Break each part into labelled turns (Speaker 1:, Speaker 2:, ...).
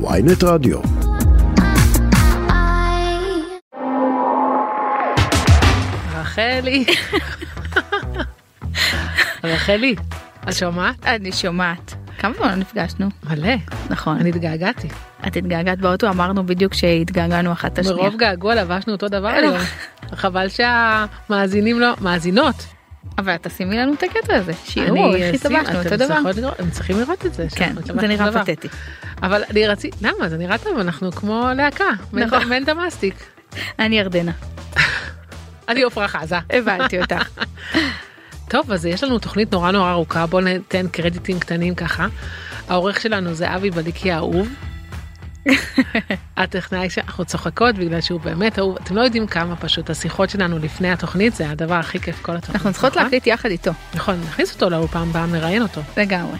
Speaker 1: ויינט רדיו.
Speaker 2: רחלי. רחלי, את שומעת?
Speaker 3: אני שומעת. כמה זמן לא נפגשנו?
Speaker 2: מלא.
Speaker 3: נכון.
Speaker 2: אני התגעגעתי.
Speaker 3: את התגעגעת באוטו, אמרנו בדיוק שהתגעגענו אחת לשנייה.
Speaker 2: מרוב געגוע לבשנו אותו דבר היום. חבל שהמאזינים לא... מאזינות.
Speaker 3: אבל תשימי לנו את הקטע הזה, שיראו איך
Speaker 2: אשים-
Speaker 3: התלבשנו
Speaker 2: אתם
Speaker 3: אותו דבר.
Speaker 2: צריכות לראות- הם צריכים לראות את זה.
Speaker 3: כן,
Speaker 2: שאנחנו
Speaker 3: זה
Speaker 2: התלבשנו
Speaker 3: נראה
Speaker 2: אותו דבר.
Speaker 3: פתטי.
Speaker 2: אבל אני רציתי, למה? זה נראה טוב, אנחנו כמו להקה.
Speaker 3: נכון.
Speaker 2: מן דמאסטיק.
Speaker 3: אני ירדנה,
Speaker 2: אני עפרה חזה.
Speaker 3: הבנתי אותך.
Speaker 2: טוב, אז יש לנו תוכנית נורא נורא ארוכה, בואו ניתן קרדיטים קטנים ככה. העורך שלנו זה אבי בליקי האהוב. הטכנאי שאנחנו צוחקות בגלל שהוא באמת אהוב, אתם לא יודעים כמה פשוט, השיחות שלנו לפני התוכנית זה הדבר הכי כיף כל התוכנית.
Speaker 3: אנחנו צריכות
Speaker 2: נכון?
Speaker 3: להקליט יחד איתו,
Speaker 2: נכון, נכניס אותו לאולפן הבא, נראיין אותו.
Speaker 3: לגמרי.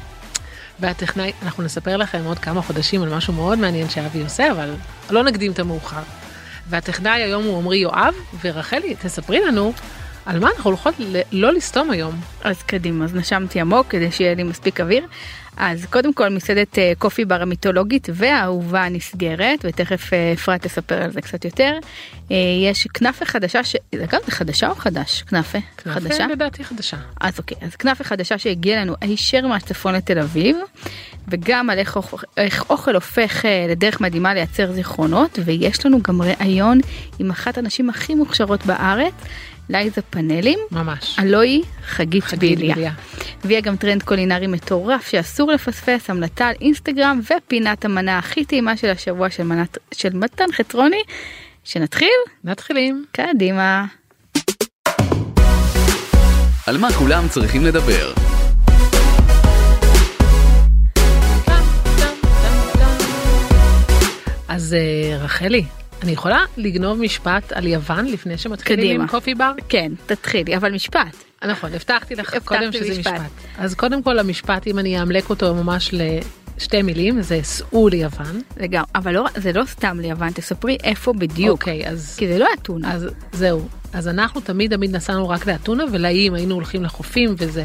Speaker 2: והטכנאי, אנחנו נספר לכם עוד כמה חודשים על משהו מאוד מעניין שאבי עושה, אבל לא נקדים את המאוחר. והטכנאי היום הוא עמרי יואב, ורחלי, תספרי לנו על מה אנחנו הולכות ל- לא לסתום היום.
Speaker 3: אז קדימה, אז נשמתי עמוק כדי שיהיה לי מספיק אוויר. אז קודם כל מסעדת אה, קופי בר המיתולוגית והאהובה נסגרת, ותכף אה, אפרת תספר על זה קצת יותר. אה, יש כנאפה חדשה, ש... אגב, זה חדשה או חדש? כנאפה? חדשה?
Speaker 2: כנאפה, כן, לדעתי חדשה.
Speaker 3: אז אוקיי, אז כנאפה חדשה שהגיעה לנו הישר מהצפון לתל אביב, וגם על איך, אוכ- איך אוכל הופך אה, לדרך מדהימה לייצר זיכרונות, ויש לנו גם ראיון עם אחת הנשים הכי מוכשרות בארץ, לייזה פאנלים,
Speaker 2: ממש.
Speaker 3: הלוא היא חגית,
Speaker 2: חגית
Speaker 3: ביליה.
Speaker 2: ביליה.
Speaker 3: ויהיה גם טרנד קולינרי מטורף שאסור לפספס, המלטה על אינסטגרם ופינת המנה הכי טעימה של השבוע של, מנת, של מתן חצרוני, שנתחיל?
Speaker 2: מתחילים.
Speaker 3: קדימה.
Speaker 4: על מה כולם צריכים לדבר.
Speaker 2: אז אה, רחלי, אני יכולה לגנוב משפט על יוון לפני שמתחילים
Speaker 3: קדימה.
Speaker 2: עם קופי בר?
Speaker 3: כן, תתחילי, אבל משפט.
Speaker 2: אה, נכון, הבטחתי לך
Speaker 3: הבטחתי
Speaker 2: קודם שזה
Speaker 3: משפט.
Speaker 2: משפט. אז קודם כל המשפט, אם אני אאמלק אותו ממש לשתי מילים, זה סעו ליוון.
Speaker 3: לגמרי, אבל לא, זה לא סתם ליוון, תספרי איפה בדיוק, okay.
Speaker 2: אוקיי, אז
Speaker 3: כי זה לא אתונה.
Speaker 2: אז זהו. אז אנחנו תמיד תמיד נסענו רק לאתונה ולאיים, היינו הולכים לחופים וזה.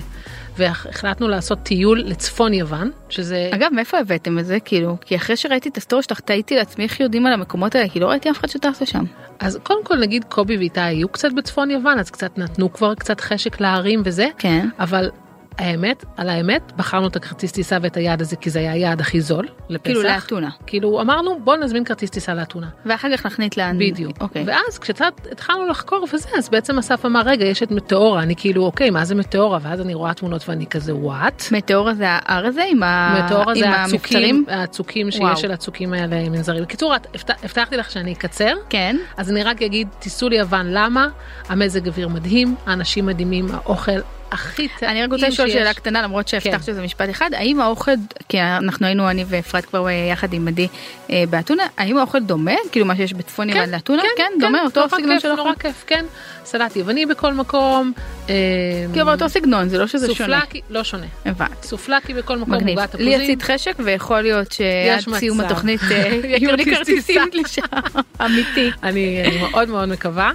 Speaker 2: והחלטנו לעשות טיול לצפון יוון, שזה...
Speaker 3: אגב, מאיפה הבאתם את זה? כאילו, כי אחרי שראיתי את הסטורי שלך, תהיתי לעצמי איך יודעים על המקומות האלה, כי לא ראיתי אף אחד שטס לשם.
Speaker 2: אז קודם כל נגיד קובי ואיתי היו קצת בצפון יוון, אז קצת נתנו כבר קצת חשק להרים וזה,
Speaker 3: כן.
Speaker 2: אבל האמת, על האמת, בחרנו את הכרטיס טיסה ואת היעד הזה, כי זה היה היעד הכי זול לפסח.
Speaker 3: כאילו לאתונה.
Speaker 2: כאילו אמרנו, בוא נזמין כרטיס טיסה לאתונה.
Speaker 3: ואחר כך נחליט לאן...
Speaker 2: בדיוק.
Speaker 3: אוקיי.
Speaker 2: ואז כשקצת התחלנו לחקור וזה, אז בעצם אסף אמר, רגע, יש את מטאורה, אני כאילו, אוקיי, מה זה מטאורה? ואז אני רואה תמונות ואני כזה, וואט?
Speaker 3: מטאור הזה, ההר הזה עם, ה...
Speaker 2: מטאורה
Speaker 3: עם
Speaker 2: זה הצוקים,
Speaker 3: המבצרים?
Speaker 2: הצוקים
Speaker 3: וואו.
Speaker 2: שיש של הצוקים האלה הם מנזרים. בקיצור, את- הבט- הבטחתי לך שאני אקצר.
Speaker 3: כן.
Speaker 2: אז אני רק אגיד, תיסעו ליוון, למה? המזג אוויר מדהים, האנשים מדהימים, האוכל הכי טעים
Speaker 3: אני רק רוצה לשאול
Speaker 2: שיש.
Speaker 3: שאלה קטנה, למרות
Speaker 2: כן.
Speaker 3: שהבטחת שזה משפט אחד, האם האוכל, כי אנחנו היינו, אני ואפרת כבר אה, יחד עם עדי אה, באתונה, האם האוכל דומה? כאילו מה שיש בצפון יוון לאתונה? כן, דומה, אותו
Speaker 2: נורא
Speaker 3: סגנון
Speaker 2: כיף,
Speaker 3: של אוכל.
Speaker 2: נורא כיף, כן. סלט יווני בכל מקום. אה,
Speaker 3: כאילו אבל אותו סגנון, זה לא שזה שונה.
Speaker 2: סופלקי, לא שונה.
Speaker 3: הבנתי.
Speaker 2: סופלקי בכל מקום,
Speaker 3: מגניב.
Speaker 2: עוגת
Speaker 3: לי
Speaker 2: תפוזים.
Speaker 3: עשית חשק ויכול להיות שעד
Speaker 2: יש מצב.
Speaker 3: סיום התוכנית אה, יהיו לי
Speaker 2: כרטיס
Speaker 3: כרטיסים לשם. אמיתי.
Speaker 2: אני אני מאוד מאוד מקווה.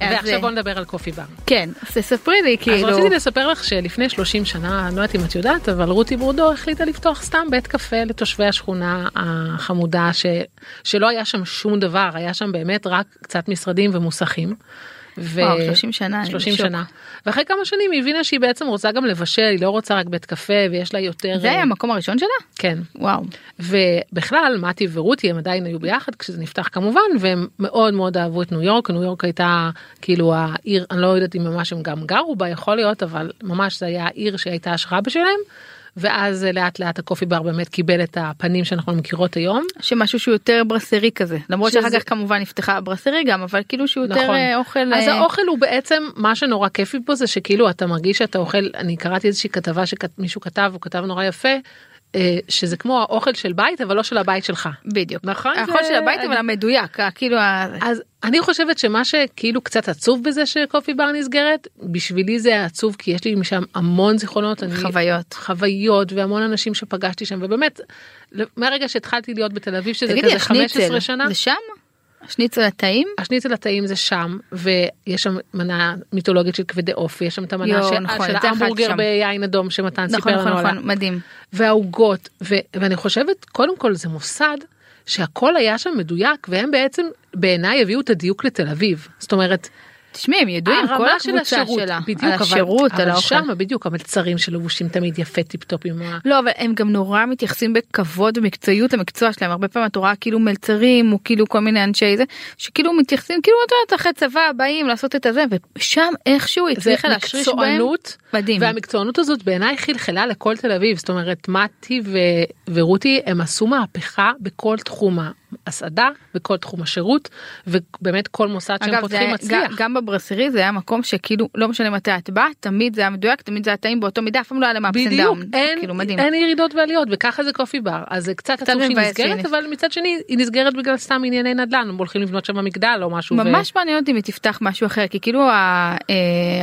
Speaker 3: אז,
Speaker 2: ועכשיו
Speaker 3: אה,
Speaker 2: בוא נדבר על קופי בר.
Speaker 3: כן, אז תספרי לי כאילו.
Speaker 2: אז רציתי לספר לך שלפני 30 שנה, אני לא יודעת אם את יודעת, אבל רותי ברודו החליטה לפתוח סתם בית קפה לתושבי השכונה החמודה, ש... שלא היה שם שום דבר, היה שם באמת רק קצת משרדים ומוסכים. ו...
Speaker 3: וואו, 30 שנה, אני
Speaker 2: 30
Speaker 3: בשוק.
Speaker 2: שנה. ואחרי כמה שנים היא הבינה שהיא בעצם רוצה גם לבשל, היא לא רוצה רק בית קפה ויש לה יותר... אה,
Speaker 3: זה היה המקום הראשון שלה?
Speaker 2: כן.
Speaker 3: וואו.
Speaker 2: ובכלל מתי ורותי הם עדיין היו ביחד כשזה נפתח כמובן והם מאוד מאוד אהבו את ניו יורק ניו יורק הייתה כאילו העיר אני לא יודעת אם ממש הם גם גרו בה יכול להיות אבל ממש זה היה העיר שהייתה השראה בשבילם. ואז אה, לאט לאט הקופי בר באמת קיבל את הפנים שאנחנו מכירות היום.
Speaker 3: שמשהו שהוא יותר ברסרי כזה. למרות
Speaker 2: שזה-
Speaker 3: שאחר כך כמובן נפתחה ברסרי גם, אבל כאילו שהוא יותר
Speaker 2: נכון.
Speaker 3: אה, אוכל...
Speaker 2: אז
Speaker 3: אה,
Speaker 2: האוכל הוא בעצם מה שנורא כיפי פה זה שכאילו אתה מרגיש שאתה אוכל אני קראתי איזושהי כתבה שמישהו כתב הוא כתב נורא יפה אה, שזה כמו האוכל של בית אבל לא של הבית שלך.
Speaker 3: בדיוק.
Speaker 2: נכון,
Speaker 3: האוכל
Speaker 2: זה-
Speaker 3: של הבית
Speaker 2: אני-
Speaker 3: אבל המדויק, ה- כאילו ה...
Speaker 2: אז אני חושבת שמה שכאילו קצת עצוב בזה שקופי בר נסגרת בשבילי זה עצוב כי יש לי משם המון זיכרונות אני,
Speaker 3: חוויות.
Speaker 2: חוויות והמון אנשים שפגשתי שם ובאמת מהרגע שהתחלתי להיות בתל אביב שזה
Speaker 3: תגידי,
Speaker 2: כזה 15
Speaker 3: השניצל,
Speaker 2: שנה
Speaker 3: זה שם? השניצל הטעים?
Speaker 2: השניצל הטעים זה שם ויש שם מנה מיתולוגית של כבדי עוף יש שם את המנה
Speaker 3: יואו,
Speaker 2: של,
Speaker 3: נכון,
Speaker 2: של
Speaker 3: את זה אכלתי
Speaker 2: ההמבורגר
Speaker 3: שם.
Speaker 2: ביין אדום שמתן כן,
Speaker 3: נכון,
Speaker 2: סיפר
Speaker 3: נכון,
Speaker 2: לנו עליו
Speaker 3: נכון, מדהים.
Speaker 2: והעוגות ו- ואני חושבת קודם כל זה מוסד שהכל היה שם מדויק, והם בעצם בעיניי הביאו את הדיוק לתל אביב. זאת אומרת,
Speaker 3: תשמעי, הם ידועים, כל
Speaker 2: הרמה של
Speaker 3: הקבוצה
Speaker 2: השירות,
Speaker 3: שלה.
Speaker 2: בדיוק,
Speaker 3: על
Speaker 2: אבל-
Speaker 3: השירות, על
Speaker 2: אבל
Speaker 3: האוכל.
Speaker 2: שם, בדיוק, המלצרים שלבושים תמיד יפה טיפ-טופ עם ה...
Speaker 3: לא, אבל הם גם נורא מתייחסים בכבוד ומקצועיות למקצוע שלהם. הרבה פעמים את רואה כאילו מלצרים, או כאילו כל מיני אנשי זה, שכאילו מתייחסים, כאילו את יודעת, אחרי צבא באים לעשות את הזה, ושם איכשהו הצליחה להשריש בהם.
Speaker 2: מקצוענות,
Speaker 3: מדהים.
Speaker 2: והמקצוענות הזאת בעיניי חלחלה לכל תל אביב, זאת אומרת, מתי ו- ורותי הם עשו מהפכה בכל תחום ההסעדה, בכל תחום השירות, ובאמת כל מוסד שהם
Speaker 3: אגב, זה
Speaker 2: פותחים
Speaker 3: היה,
Speaker 2: מצליח.
Speaker 3: גם, גם בברסרי זה היה מקום שכאילו, לא משנה מתי את באה, תמיד זה היה מדויק, תמיד זה היה טעים באותו מידה, אף פעם לא היה להם אפסנדאון.
Speaker 2: בדיוק, אין,
Speaker 3: כאילו מדהים.
Speaker 2: אין ירידות ועליות וככה זה קופי בר אז זה קצת עצוב שהיא
Speaker 3: מבאס
Speaker 2: נסגרת
Speaker 3: שהיא-
Speaker 2: אבל מצד שני היא נסגרת בגלל סתם ענייני נדל"ן הם הולכים לבנות שם מגדל או משהו
Speaker 3: ממש מעניין אותי אם היא תפתח משהו אחר, כי כאילו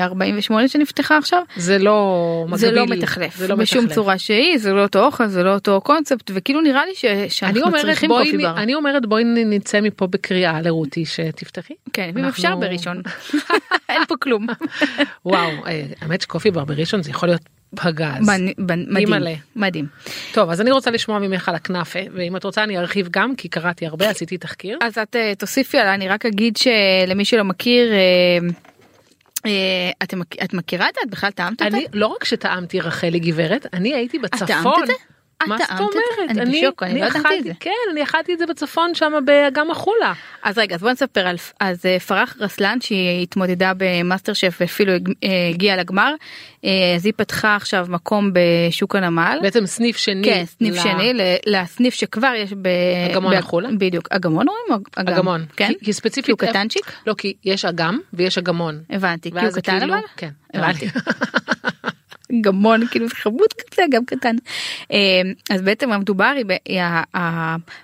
Speaker 3: ה-48 שנפתחה עכשיו,
Speaker 2: וזה לא
Speaker 3: זה לא
Speaker 2: מקביל,
Speaker 3: מתחלף
Speaker 2: זה לא
Speaker 3: בשום
Speaker 2: מתחלף.
Speaker 3: צורה שהיא זה לא אותו אוכל זה לא אותו קונספט וכאילו נראה לי ש...
Speaker 2: אני
Speaker 3: שאנחנו
Speaker 2: אומרת
Speaker 3: צריכים
Speaker 2: בואי
Speaker 3: קופי
Speaker 2: נ-
Speaker 3: בר.
Speaker 2: אני אומרת בואי נ- נצא מפה בקריאה לרותי שתפתחי
Speaker 3: כן אם
Speaker 2: אנחנו-
Speaker 3: אפשר בראשון אין פה כלום.
Speaker 2: וואו אה, האמת שקופי בר בראשון זה יכול להיות פגז
Speaker 3: בנ- בנ-
Speaker 2: אימא'לה.
Speaker 3: מדהים מדהים
Speaker 2: טוב אז אני רוצה לשמוע ממך על הכנאפה ואם את רוצה אני ארחיב גם כי קראתי הרבה עשיתי תחקיר
Speaker 3: אז את אה, תוסיפי עליי אני רק אגיד שלמי שלא מכיר אה, אה, אתם מכ- את מכירה את זה את בכלל טעמת אותה?
Speaker 2: אני לא רק שטעמתי רחלי גברת אני הייתי
Speaker 3: אה, טעמת
Speaker 2: בצפון.
Speaker 3: את זה? את
Speaker 2: מה
Speaker 3: טעמת
Speaker 2: זאת
Speaker 3: את זה?
Speaker 2: אומרת?
Speaker 3: אני בשוק, אני לא ידעתי את
Speaker 2: אכלתי-
Speaker 3: זה.
Speaker 2: כן, אני אכלתי את זה בצפון שם באגם החולה.
Speaker 3: אז רגע אז בוא נספר על אז אה, פרח רסלן שהיא התמודדה במאסטר שף ואפילו הג- אה, הגיעה לגמר אה, אז היא פתחה עכשיו מקום בשוק הנמל.
Speaker 2: בעצם סניף שני.
Speaker 3: כן, סניף
Speaker 2: ל-
Speaker 3: שני, ל- לסניף שכבר יש ב...
Speaker 2: אגמון
Speaker 3: ב-
Speaker 2: החולה?
Speaker 3: בדיוק, אגמון או אגם?
Speaker 2: אגמון.
Speaker 3: כן?
Speaker 2: כי- כי ספציפית...
Speaker 3: כי הוא קטנצ'יק?
Speaker 2: לא, כי יש אגם ויש אגמון.
Speaker 3: הבנתי, כי
Speaker 2: ואז
Speaker 3: הוא
Speaker 2: זה
Speaker 3: קטן
Speaker 2: כאילו-
Speaker 3: אבל?
Speaker 2: כן,
Speaker 3: הבנתי. גמון כאילו זה חמוד כזה גם קטן אה, אז בעצם המדובר היא ב- היא ה-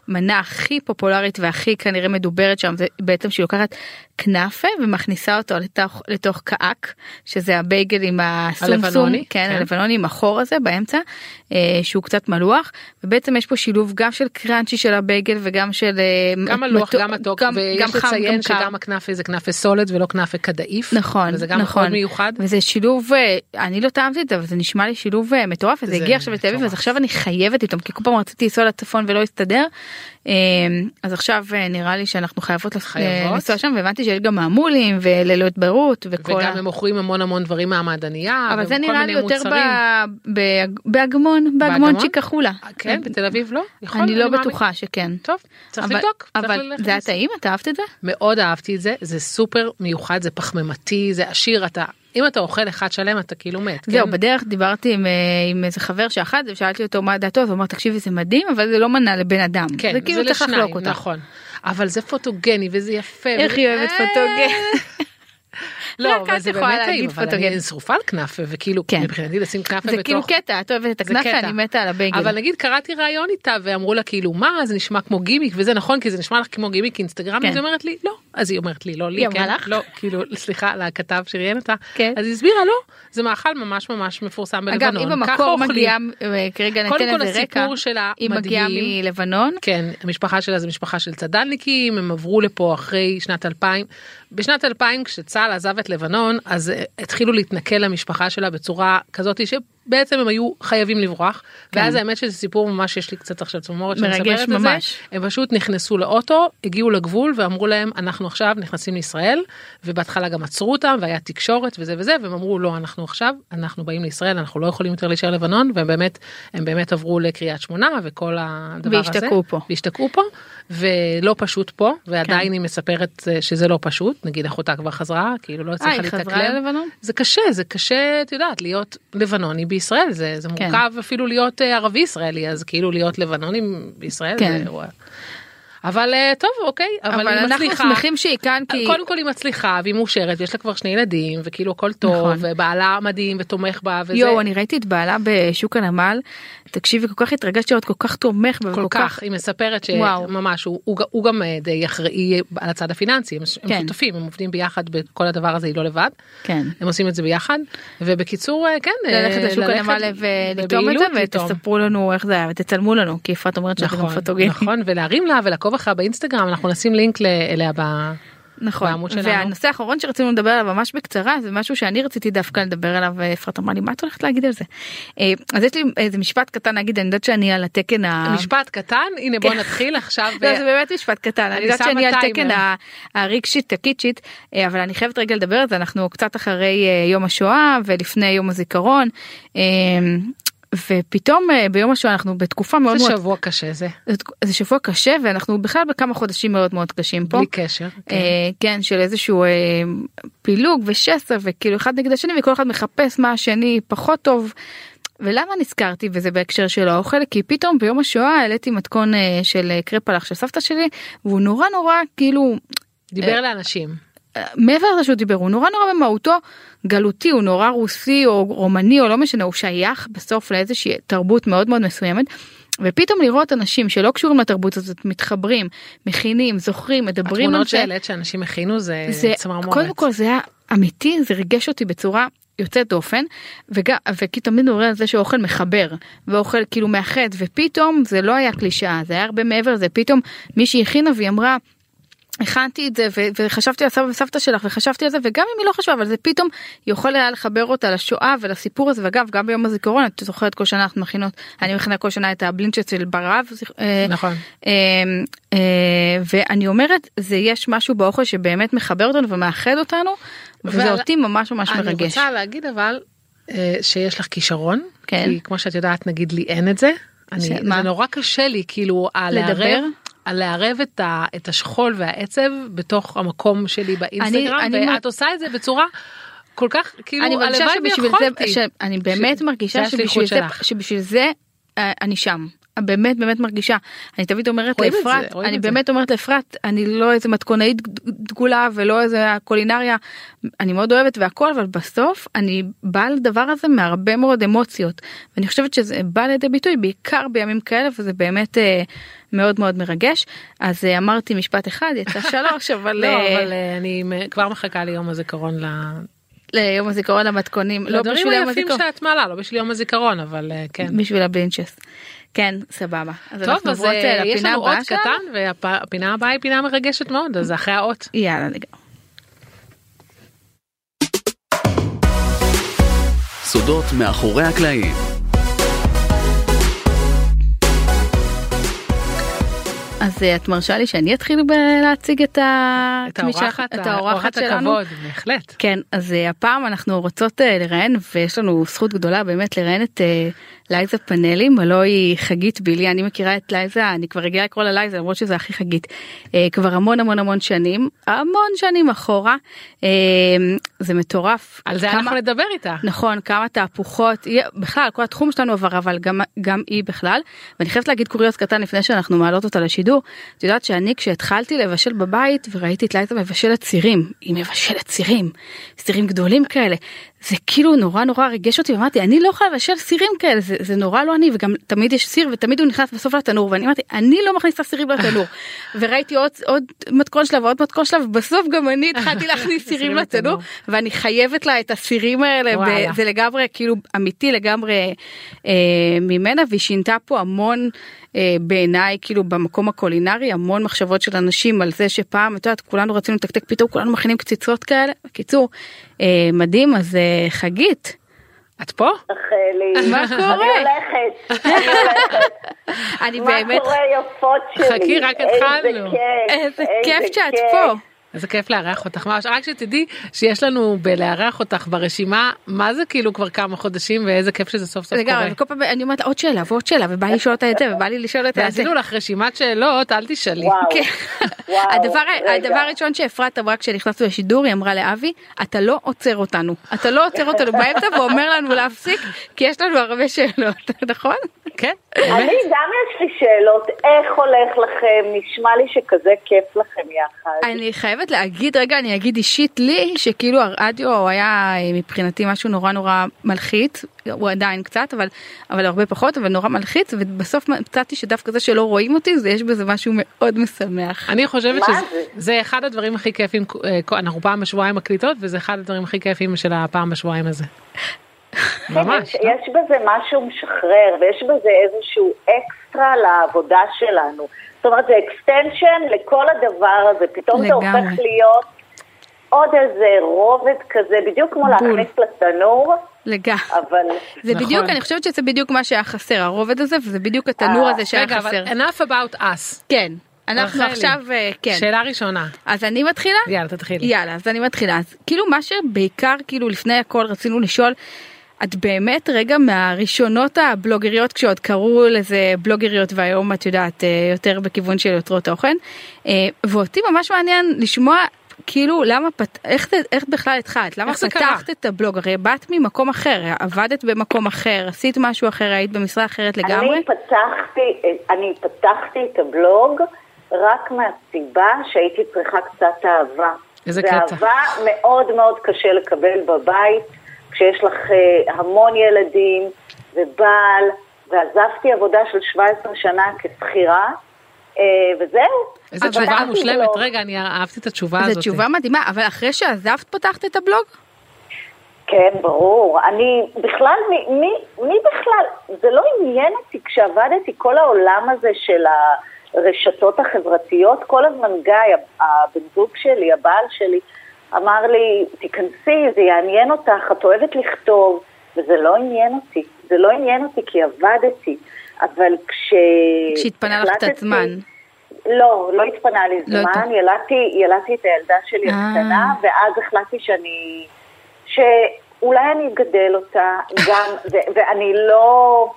Speaker 3: המנה הכי פופולרית והכי כנראה מדוברת שם זה בעצם שהיא לוקחת כנאפה ומכניסה אותו לתוך לתוך קאק שזה הבייגל עם הסומסום
Speaker 2: הלבנוני,
Speaker 3: כן
Speaker 2: כן.
Speaker 3: הלבנוני עם החור הזה באמצע אה, שהוא קצת מלוח ובעצם יש פה שילוב גם של קראנצ'י של הבייגל וגם של אה,
Speaker 2: גם הלוח,
Speaker 3: מתוק-
Speaker 2: גם מתוק,
Speaker 3: גם- גם
Speaker 2: ויש
Speaker 3: חם,
Speaker 2: לציין
Speaker 3: גם קר.
Speaker 2: שגם הכנאפה זה כנאפה סולת ולא כנאפה כדאיף.
Speaker 3: נכון
Speaker 2: וזה גם
Speaker 3: נכון
Speaker 2: מאוד מיוחד.
Speaker 3: וזה שילוב אה, אני לא טעמתי את זה אבל זה נשמע לי שילוב אה, מטורף וזה
Speaker 2: זה
Speaker 3: הגיע עכשיו לתל אביב
Speaker 2: מטורף.
Speaker 3: אז עכשיו אני חייבת לטעום כי כל פעם רציתי לנסוע לצפון ולא הסתדר אה, אז עכשיו אה, נראה לי שאנחנו חייבות לס-
Speaker 2: חייבות.
Speaker 3: אה, לנסוע שם והבנתי שיש גם מעמולים ולילות ברות וכל ה... אה,
Speaker 2: וגם הם מוכרים המון המון דברים מהמעדניה.
Speaker 3: אבל זה
Speaker 2: וכל
Speaker 3: נראה לי
Speaker 2: מיני
Speaker 3: יותר ב-
Speaker 2: מוצרים.
Speaker 3: ב- באגמון באגמון
Speaker 2: באגמון?
Speaker 3: צ'יקחולה.
Speaker 2: אה, כן, בתל אביב לא? יכול,
Speaker 3: אני לא
Speaker 2: מאמין.
Speaker 3: בטוחה שכן.
Speaker 2: טוב, צריך
Speaker 3: אבל-
Speaker 2: לבדוק. צריך
Speaker 3: אבל
Speaker 2: ללכת
Speaker 3: זה היה
Speaker 2: לעשות.
Speaker 3: טעים את אהבת את זה?
Speaker 2: מאוד אהבתי את זה, זה סופר מיוחד, זה פחמימתי, זה עשיר, אתה, אם אתה אוכל אחד שלם אתה כאילו מת.
Speaker 3: זהו
Speaker 2: כן?
Speaker 3: בדרך דיברתי עם, אה, עם איזה חבר שאכל את זה ושאלתי אותו מה דעתו אז הוא אמר תקשיבי זה מדהים אבל זה לא מנה לבן אדם
Speaker 2: כן,
Speaker 3: זה כאילו צריך
Speaker 2: לשניים,
Speaker 3: לחלוק אותה.
Speaker 2: נכון. אבל זה פוטוגני וזה יפה.
Speaker 3: איך
Speaker 2: וזה-
Speaker 3: היא אוהבת
Speaker 2: אה,
Speaker 3: פוטוגן. רק
Speaker 2: לא, אבל
Speaker 3: את
Speaker 2: זה
Speaker 3: כן, יכולה
Speaker 2: באמת טעים,
Speaker 3: להגיד
Speaker 2: אבל
Speaker 3: פוטוגן.
Speaker 2: אני שרופה על כנאפה, וכאילו,
Speaker 3: כן.
Speaker 2: מבחינתי לשים כנאפה בתוך...
Speaker 3: זה כאילו קטע את אוהבת את
Speaker 2: זה
Speaker 3: הכנאפה
Speaker 2: קטע.
Speaker 3: אני מתה על הבייגל.
Speaker 2: אבל נגיד קראתי ראיון איתה ואמרו לה כאילו מה זה נשמע כמו גימיק וזה נכון כי זה נשמע לך כמו גימיק אינסטגרמי
Speaker 3: כן.
Speaker 2: אז היא אומרת לי לא אז היא אומרת לי לא לי
Speaker 3: היא אמרה
Speaker 2: כן,
Speaker 3: לך?
Speaker 2: לא כאילו סליחה לכתב שראיין אותה
Speaker 3: כן.
Speaker 2: אז היא הסבירה לא זה מאכל ממש ממש מפורסם
Speaker 3: אגב
Speaker 2: בלבנון
Speaker 3: אם
Speaker 2: ככה
Speaker 3: במקור
Speaker 2: אוכלים.
Speaker 3: מגיעה אה, כרגע
Speaker 2: קודם
Speaker 3: ניתן
Speaker 2: כל
Speaker 3: איזה רקע.
Speaker 2: הסיפור שלה
Speaker 3: היא מגיעה
Speaker 2: מדהים.
Speaker 3: מלבנון.
Speaker 2: כן, המשפחה שלה זה משפחה של צד"לניקים, הם עברו לפה אחרי שנת 2000. בשנת 2000 כשצה"ל עזב את לבנון, אז אה, התחילו להתנכל למשפחה שלה בצורה כזאת שבעצם הם היו חייבים לברוח.
Speaker 3: כן.
Speaker 2: ואז האמת שזה סיפור ממש, יש לי קצת עכשיו צמרמורת שאני
Speaker 3: מרגש
Speaker 2: מספרת את זה.
Speaker 3: ממש.
Speaker 2: הם פשוט נכנסו לאוטו, הגיעו לגבול ואמרו להם, אנחנו עכשיו נכנסים לישראל, ובהתחלה גם עצרו אותם והיה תקשורת וזה וזה, והם אמרו, לא, אנחנו עכשיו, אנחנו באים לישראל, אנחנו לא יכולים יותר להישאר לבנון, והם באמת, הם באמת עברו לקריית שמונה וכל הדבר הזה.
Speaker 3: והשתקעו פה. כן.
Speaker 2: והשתקעו פה, ולא פשוט פה, ועדיין היא מספרת אה, שזה לא פשוט, נגיד אחותה כבר חזרה, כאילו לא
Speaker 3: אה
Speaker 2: הצליחה
Speaker 3: היא חזרה
Speaker 2: להתאקלם.
Speaker 3: ללבנון?
Speaker 2: זה קשה, זה קשה, את יודעת, להיות לבנוני בישראל, זה, זה
Speaker 3: כן.
Speaker 2: מורכב אפילו להיות אה, ערבי ישראלי, אז כאילו להיות לבנוני בישראל
Speaker 3: כן.
Speaker 2: זה אירוע. אבל אה, טוב, אוקיי, אבל,
Speaker 3: אבל
Speaker 2: היא
Speaker 3: אנחנו
Speaker 2: מצליחה. אה,
Speaker 3: שמחים שהיא כאן כי
Speaker 2: קודם כל היא מצליחה והיא מאושרת ויש לה כבר שני ילדים וכאילו הכל טוב
Speaker 3: נכון.
Speaker 2: ובעלה מדהים ותומך בה וזה
Speaker 3: יואו אני ראיתי את בעלה בשוק הנמל תקשיבי כל כך התרגשתי עוד כל כך תומך בה
Speaker 2: כל
Speaker 3: וכל
Speaker 2: כך היא מספרת
Speaker 3: וואו.
Speaker 2: שממש הוא, הוא, ג- הוא גם אה, די אחראי על הצד הפיננסי הם, כן.
Speaker 3: כן.
Speaker 2: הם שותפים הם עובדים ביחד בכל הדבר הזה היא לא לבד
Speaker 3: כן.
Speaker 2: הם עושים את זה ביחד ובקיצור אה, כן אה,
Speaker 3: ללכת לשוק הנמל ולטעום את זה
Speaker 2: בבהילות לטעום.
Speaker 3: ותספרו לנו איך זה היה ותצלמו לנו כי יפעת אומרת שאנחנו
Speaker 2: נכון,
Speaker 3: מפוטוגנים.
Speaker 2: נכון ולהרים לה ולעקוב אחריה באינסטגרם אנחנו נשים לינק ל- אליה ב...
Speaker 3: נכון.
Speaker 2: בעמוד שלנו.
Speaker 3: והנושא האחרון שרצינו לדבר עליו ממש בקצרה זה משהו שאני רציתי דווקא לדבר עליו ואפרת אמרה לי מה את הולכת להגיד על זה. אה, אז יש לי איזה משפט קטן להגיד אני יודעת שאני על התקן ה...
Speaker 2: משפט קטן, הנה בוא
Speaker 3: כן.
Speaker 2: נתחיל עכשיו. ב-
Speaker 3: לא, זה באמת משפט קטן, אני
Speaker 2: אני
Speaker 3: יודעת
Speaker 2: שמה
Speaker 3: שאני על
Speaker 2: טיימר.
Speaker 3: תקן ה- הרגשית הקיצ'ית, אה, אבל אני חייבת רגע לדבר על זה, אנחנו קצת אחרי אה, יום השואה ולפני יום הזיכרון, אה, ופתאום אה, ביום השואה אנחנו בתקופה מאוד
Speaker 2: זה
Speaker 3: מאוד,
Speaker 2: שבוע קשה זה,
Speaker 3: זה שבוע קשה ואנחנו בכלל בכמה חודשים מאוד מאוד קשים פה.
Speaker 2: בלי קשר. כן.
Speaker 3: אה, כן של איזשהו אה, פילוג ושסע וכאילו אחד נגד השני וכל אחד מחפש מה השני פחות טוב. ולמה נזכרתי וזה בהקשר של האוכל כי פתאום ביום השואה העליתי מתכון אה, של אה, קרפ פלח של סבתא שלי והוא נורא נורא כאילו
Speaker 2: דיבר לאנשים.
Speaker 3: אה, מעבר לזה שהוא דיבר הוא נורא נורא במהותו גלותי הוא נורא רוסי או רומני או לא משנה הוא שייך בסוף לאיזושהי תרבות מאוד מאוד מסוימת. ופתאום לראות אנשים שלא קשורים לתרבות הזאת מתחברים מכינים זוכרים מדברים על
Speaker 2: התמונות
Speaker 3: זה
Speaker 2: שהעלית שאנשים הכינו זה
Speaker 3: זה
Speaker 2: צמרמורת.
Speaker 3: קודם כל זה היה אמיתי זה ריגש אותי בצורה יוצאת דופן וגם וכי תמיד מדברים על זה שאוכל מחבר ואוכל כאילו מאחד ופתאום זה לא היה קלישאה זה היה הרבה מעבר לזה פתאום מישהי הכינה והיא אמרה. הכנתי את זה ו- וחשבתי על סבא וסבתא שלך וחשבתי על זה וגם אם היא לא חשבה אבל זה פתאום יכול היה לחבר אותה לשואה ולסיפור הזה ואגב גם ביום הזיכרון את זוכרת כל שנה אנחנו מכינות אני מכינה כל שנה את הבלינצ'ט של ברב זיכ- אה,
Speaker 2: נכון.
Speaker 3: אמ, אה, ואני אומרת זה יש משהו באוכל שבאמת מחבר אותנו ומאחד אותנו וזה
Speaker 2: ועל-
Speaker 3: אותי ממש ממש
Speaker 2: אני
Speaker 3: מרגש.
Speaker 2: רוצה להגיד אבל אה, שיש לך כישרון,
Speaker 3: כן.
Speaker 2: כי כמו שאת יודעת נגיד לי אין את זה, אני,
Speaker 3: ש-
Speaker 2: זה
Speaker 3: מה?
Speaker 2: נורא קשה לי כאילו ה-
Speaker 3: לדבר?
Speaker 2: לערב, ה- לערב את, ה, את השכול והעצב בתוך המקום שלי באינסטגרם,
Speaker 3: אני
Speaker 2: ואת
Speaker 3: מ-
Speaker 2: עושה את זה בצורה כל כך
Speaker 3: אני
Speaker 2: כאילו
Speaker 3: מרגישה
Speaker 2: הלוואי
Speaker 3: שבשביל זה,
Speaker 2: ויכולתי.
Speaker 3: ש- אני באמת
Speaker 2: ש-
Speaker 3: מרגישה
Speaker 2: זה
Speaker 3: שבשביל
Speaker 2: השליחות
Speaker 3: זה,
Speaker 2: שלך.
Speaker 3: שבשביל זה אה, אני שם. באמת באמת מרגישה אני תמיד אומרת
Speaker 2: רואים את זה,
Speaker 3: לאפרת
Speaker 2: רואים
Speaker 3: אני
Speaker 2: את זה.
Speaker 3: באמת אומרת לאפרת אני לא איזה מתכונאית דגולה ולא איזה קולינריה אני מאוד אוהבת והכל אבל בסוף אני באה לדבר הזה מהרבה מאוד אמוציות ואני חושבת שזה בא לידי ביטוי בעיקר בימים כאלה וזה באמת אה, מאוד מאוד מרגש אז אה, אמרתי משפט אחד יצא שלוש אבל,
Speaker 2: לא,
Speaker 3: אה,
Speaker 2: אבל אה, אני מ- כבר מחכה ליום הזיכרון ל-
Speaker 3: ליום הזיכרון למתכונים לא
Speaker 2: לדברים
Speaker 3: בשביל יום
Speaker 2: היפים
Speaker 3: הזיכרון.
Speaker 2: שאת מעלה, לא בשביל יום הזיכרון, אבל אה, כן.
Speaker 3: בשביל הבלינצ'ס. כן, סבבה. אז
Speaker 2: טוב,
Speaker 3: אנחנו
Speaker 2: אז
Speaker 3: עוברות
Speaker 2: אה,
Speaker 3: אה,
Speaker 2: יש
Speaker 3: לפינה
Speaker 2: לנו עוד
Speaker 3: הבאה שלנו.
Speaker 2: קטן, והפינה הבאה היא פינה מרגשת מאוד, אז אחרי האות.
Speaker 3: יאללה, לגמרי.
Speaker 4: סודות מאחורי הקלעים.
Speaker 3: אז אה, את מרשה לי שאני אתחיל בלהציג את ה...
Speaker 2: את
Speaker 3: מי
Speaker 2: האורחת,
Speaker 3: שאח- את האורחת שלנו.
Speaker 2: הכבוד, בהחלט.
Speaker 3: כן, אז אה, הפעם אנחנו רוצות אה, לראיין, ויש לנו זכות גדולה באמת לראיין את אה, לייזה פאנלים, הלא היא חגית בילי, אני מכירה את לייזה, אני כבר רגילה לקרוא לה לייזה למרות שזה הכי חגית, אה, כבר המון המון המון שנים, המון שנים אחורה, אה, זה מטורף.
Speaker 2: על זה
Speaker 3: כמה-
Speaker 2: אנחנו נדבר איתה.
Speaker 3: נכון כמה תהפוכות היא- בכלל כל התחום שלנו עבר אבל גם גם היא בכלל ואני חייבת להגיד קוריוז קטן לפני שאנחנו מעלות אותה לשידור את יודעת שאני כשהתחלתי לבשל בבית וראיתי את לייטה מבשלת סירים היא מבשלת סירים סירים גדולים כאלה זה כאילו נורא נורא ריגש אותי ואמרתי אני לא יכולה לבשל סירים כאלה זה, זה נורא לא אני וגם תמיד יש סיר ותמיד הוא נכנס בסוף לתנור ואני אמרתי אני לא מכניסה סירים לתנור וראיתי עוד עוד מתכון שלה ועוד מתכון שלה ובסוף גם אני התחלתי להכניס סירים
Speaker 2: סירים
Speaker 3: לתנור
Speaker 2: לתנור.
Speaker 3: ואני חייבת לה את הסירים האלה
Speaker 2: וואלה.
Speaker 3: ב- זה לגמרי כאילו אמיתי לגמרי אה, ממנה והיא שינתה פה המון אה, בעיניי כאילו במקום הקולינרי המון מחשבות של אנשים על זה שפעם את יודעת כולנו רצינו לתקתק פתאום כולנו מכינים קציצות כאלה בקיצור אה, מדהים אז אה, חגית
Speaker 2: את פה?
Speaker 1: רחלי.
Speaker 3: מה קורה?
Speaker 1: אני הולכת, אני הולכת.
Speaker 3: אני
Speaker 1: מה
Speaker 3: באמת
Speaker 1: קורה יפות שלי?
Speaker 2: חכי, רק התחלנו.
Speaker 1: איזה כיף.
Speaker 3: איזה כיף שאת פה.
Speaker 2: איזה כיף לארח אותך ממש רק שתדעי שיש לנו בלארח אותך ברשימה מה זה כאילו כבר כמה חודשים ואיזה כיף שזה סוף סוף קורה.
Speaker 3: לגמרי, וכל פעם אני אומרת לה עוד שאלה ועוד שאלה ובא לי לשאול אותה את זה ובא לי לשאול אותה את זה.
Speaker 2: ועשינו לך רשימת שאלות אל תשאלי.
Speaker 1: וואו.
Speaker 3: כן.
Speaker 1: וואו,
Speaker 3: הדבר,
Speaker 1: רגע.
Speaker 3: הדבר הראשון שאפרת אמרה כשנכנסנו לשידור היא אמרה לאבי אתה לא עוצר אותנו אתה לא עוצר אותנו באמצע ואומר לנו להפסיק כי יש לנו הרבה שאלות נכון?
Speaker 2: כן.
Speaker 1: אני גם יש לי שאלות, איך הולך לכם? נשמע לי שכזה כיף לכם יחד.
Speaker 3: אני חייבת להגיד רגע אני אגיד אישית לי שכאילו הרדיו היה אה, מבחינתי משהו נורא נורא מלחיץ הוא עדיין קצת אבל אבל הרבה פחות אבל נורא מלחיץ ובסוף מצאתי שדווקא זה שלא רואים אותי זה יש בזה משהו מאוד משמח.
Speaker 2: אני חושבת
Speaker 1: מה
Speaker 2: שזה
Speaker 1: זה?
Speaker 2: זה אחד הדברים הכי כיפים אה, כל- אנחנו פעם בשבועיים מקליטות וזה אחד הדברים הכי כיפים של הפעם בשבועיים הזה. ממש.
Speaker 1: כן,
Speaker 3: לא?
Speaker 1: יש בזה משהו משחרר, ויש בזה איזשהו אקס אקסטרה לעבודה שלנו. זאת אומרת, זה אקסטנשן לכל הדבר הזה, פתאום זה
Speaker 3: לגמרי.
Speaker 1: הופך להיות עוד איזה רובד כזה, בדיוק כמו
Speaker 3: בול.
Speaker 1: להכניס לתנור,
Speaker 3: לגמרי.
Speaker 1: אבל...
Speaker 3: זה
Speaker 2: נכון.
Speaker 3: בדיוק, אני חושבת שזה בדיוק מה שהיה חסר, הרובד הזה, וזה בדיוק התנור
Speaker 1: אה,
Speaker 3: הזה שהיה
Speaker 2: רגע, אבל
Speaker 3: חסר.
Speaker 2: enough about us.
Speaker 3: כן, אנחנו
Speaker 2: רחלי,
Speaker 3: עכשיו, אה, כן.
Speaker 2: שאלה ראשונה.
Speaker 3: אז אני מתחילה?
Speaker 2: יאללה, תתחילי.
Speaker 3: יאללה, אז אני מתחילה. אז כאילו מה שבעיקר, כאילו לפני הכל רצינו לשאול, את באמת רגע מהראשונות הבלוגריות, כשעוד קראו לזה בלוגריות והיום את יודעת אה, יותר בכיוון של יוצרות תוכן, אה, ואותי ממש מעניין לשמוע. כאילו למה פת... איך, זה- איך בכלל התחלת למה
Speaker 2: איך זה קרה?
Speaker 3: פתחת את הבלוג הרי באת ממקום אחר עבדת במקום אחר עשית משהו אחר היית במשרה אחרת לגמרי
Speaker 2: לא
Speaker 1: אני פתחתי, אני פתחתי את הבלוג רק מהסיבה שהייתי צריכה קצת אהבה.
Speaker 2: איזה קטע.
Speaker 1: ואהבה מאוד מאוד קשה לקבל בבית, כשיש לך אה, המון ילדים ובעל, ועזבתי עבודה של 17 שנה כשכירה, אה, וזהו.
Speaker 2: איזה
Speaker 1: אבל
Speaker 2: תשובה
Speaker 1: פתחתי
Speaker 2: מושלמת.
Speaker 1: בלוג.
Speaker 2: רגע, אני אהבתי את התשובה הזאת.
Speaker 3: זו לא. תשובה מדהימה אבל אחרי שעזבת פתחת את הבלוג
Speaker 1: כן, ברור. אני בכלל, מי, מי, מי בכלל, זה לא עניין אותי כשעבדתי, כל העולם הזה של הרשתות החברתיות, כל הזמן גיא, הבן זוג שלי, הבעל שלי, אמר לי, תיכנסי, זה יעניין אותך, את אוהבת לכתוב, וזה לא עניין אותי. זה לא עניין אותי כי עבדתי, אבל כש...
Speaker 3: כשהתפנה לך קצת
Speaker 1: החלטתי-
Speaker 3: זמן.
Speaker 1: לא, לא התפנה לי
Speaker 3: לא
Speaker 1: זמן,
Speaker 3: התפנה.
Speaker 1: ילדתי, ילדתי את הילדה שלי
Speaker 3: אה.
Speaker 1: הקטנה, ואז החלטתי שאני... שאולי אני אגדל אותה גם, ו- ואני לא...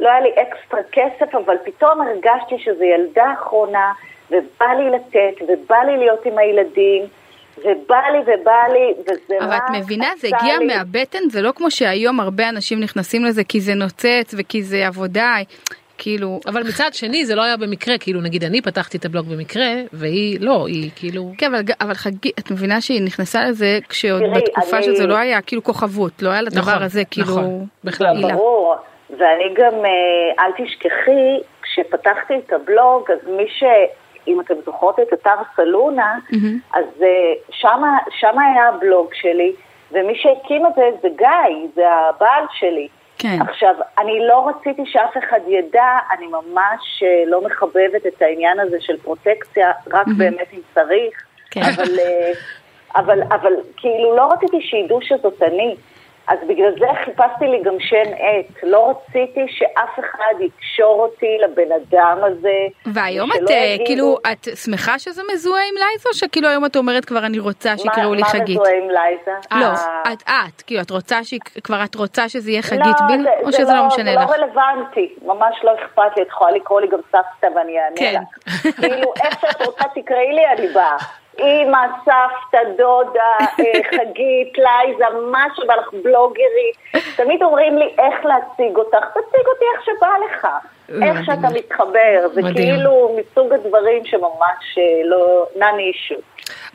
Speaker 1: לא היה לי אקסטרה כסף, אבל פתאום הרגשתי שזו ילדה אחרונה, ובא לי לתת, ובא לי להיות עם הילדים, ובא לי ובא לי, וזה
Speaker 3: אבל את
Speaker 1: רק
Speaker 3: מבינה, זה
Speaker 1: עשה
Speaker 3: הגיע
Speaker 1: לי-
Speaker 3: מהבטן, זה לא כמו שהיום הרבה אנשים נכנסים לזה כי זה נוצץ וכי זה עבודה, כאילו,
Speaker 2: אבל מצד שני זה לא היה במקרה, כאילו נגיד אני פתחתי את הבלוג במקרה, והיא לא, היא כאילו...
Speaker 3: כן, אבל, אבל חגי, את מבינה שהיא נכנסה לזה כשעוד
Speaker 1: תראי,
Speaker 3: בתקופה
Speaker 1: אני-
Speaker 3: שזה לא היה כאילו כוכבות, לא היה לדבר
Speaker 2: נכון,
Speaker 3: הזה, כאילו,
Speaker 2: נכון, בכלל
Speaker 3: הילה.
Speaker 1: אה, ברור, ואני גם, אה, אל תשכחי, כשפתחתי את הבלוג, אז מי ש... אם אתם זוכרות את אתר סלונה,
Speaker 3: מהמם.
Speaker 1: אז אה, שמה, שמה היה הבלוג שלי, ומי שהקים את זה זה גיא, זה הבעל שלי.
Speaker 3: כן.
Speaker 1: עכשיו, אני לא רציתי שאף אחד ידע, אני ממש אה, לא מחבבת את העניין הזה של פרוטקציה, רק באמת אם צריך.
Speaker 3: כן.
Speaker 1: אבל, אה, אבל, אבל כאילו לא רציתי שידעו שזאת אני. אז בגלל זה חיפשתי לי גם שם עט. לא רציתי שאף אחד יקשור אותי לבן אדם הזה.
Speaker 3: והיום
Speaker 1: ושלא
Speaker 3: את אה,
Speaker 1: יגידו-
Speaker 3: כאילו, את שמחה שזה מזוהה עם לייז או שכאילו היום את אומרת כבר אני רוצה
Speaker 1: "מה-
Speaker 3: שיקראו לי
Speaker 1: מה
Speaker 3: חגית?
Speaker 1: מזוהה עם לייזה?
Speaker 3: לא,
Speaker 1: אה, לא,
Speaker 3: את, את, כאילו, את רוצה, ש... כבר את רוצה שזה יהיה חגית ביל, או שזה לא, משנה
Speaker 1: זה
Speaker 3: לך?
Speaker 1: זה לא רלוונטי, ממש לא אכפת לי, את יכולה לקרוא לי גם סבתא ואני אענה
Speaker 3: כן.
Speaker 1: לך. כאילו, איך שאת רוצה תקראי לי, אני באה. אימא, סבתא, דודה, אה, חגית, לייזה, מה שבא לך, בלוגרית. תמיד אומרים לי איך להציג אותך, תציג אותי איך שבא לך.
Speaker 3: אה,
Speaker 1: איך שאתה מתחבר, זה
Speaker 2: מדהים.
Speaker 1: כאילו מסוג הדברים שממש אה, לא, נן אישו.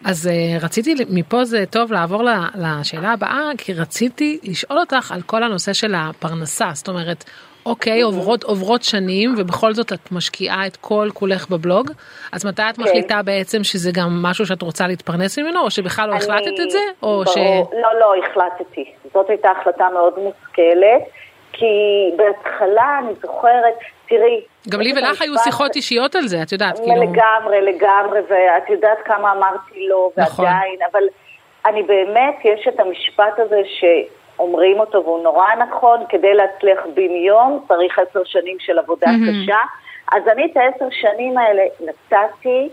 Speaker 2: אז אה, רציתי ל- מפה זה טוב לעבור ל- לשאלה הבאה כי רציתי לשאול אותך על כל הנושא של הפרנסה זאת אומרת אוקיי עוברות עוברות שנים ובכל זאת את משקיעה את כל כולך בבלוג אז מתי את מחליטה בעצם שזה גם משהו שאת רוצה להתפרנס ממנו או שבכלל לא
Speaker 1: אני-
Speaker 2: החלטת את זה או ש...
Speaker 1: ברור, לא, לא, החלטתי. זאת הייתה החלטה מאוד מושכלת, כי בהתחלה אני זוכרת, תראי...
Speaker 2: גם לי
Speaker 1: יש את
Speaker 2: ולך היו
Speaker 1: המשפט-
Speaker 2: שיחות אישיות על זה את יודעת כאילו
Speaker 1: לגמרי, לגמרי, ואת יודעת כמה אמרתי לא,
Speaker 2: נכון.
Speaker 1: ועדיין, אבל אני באמת, יש את המשפט הזה שאומרים אותו, והוא נורא נכון, כדי להצליח בן יום צריך עשר שנים של עבודה קשה. אז אני את העשר שנים האלה נתתי,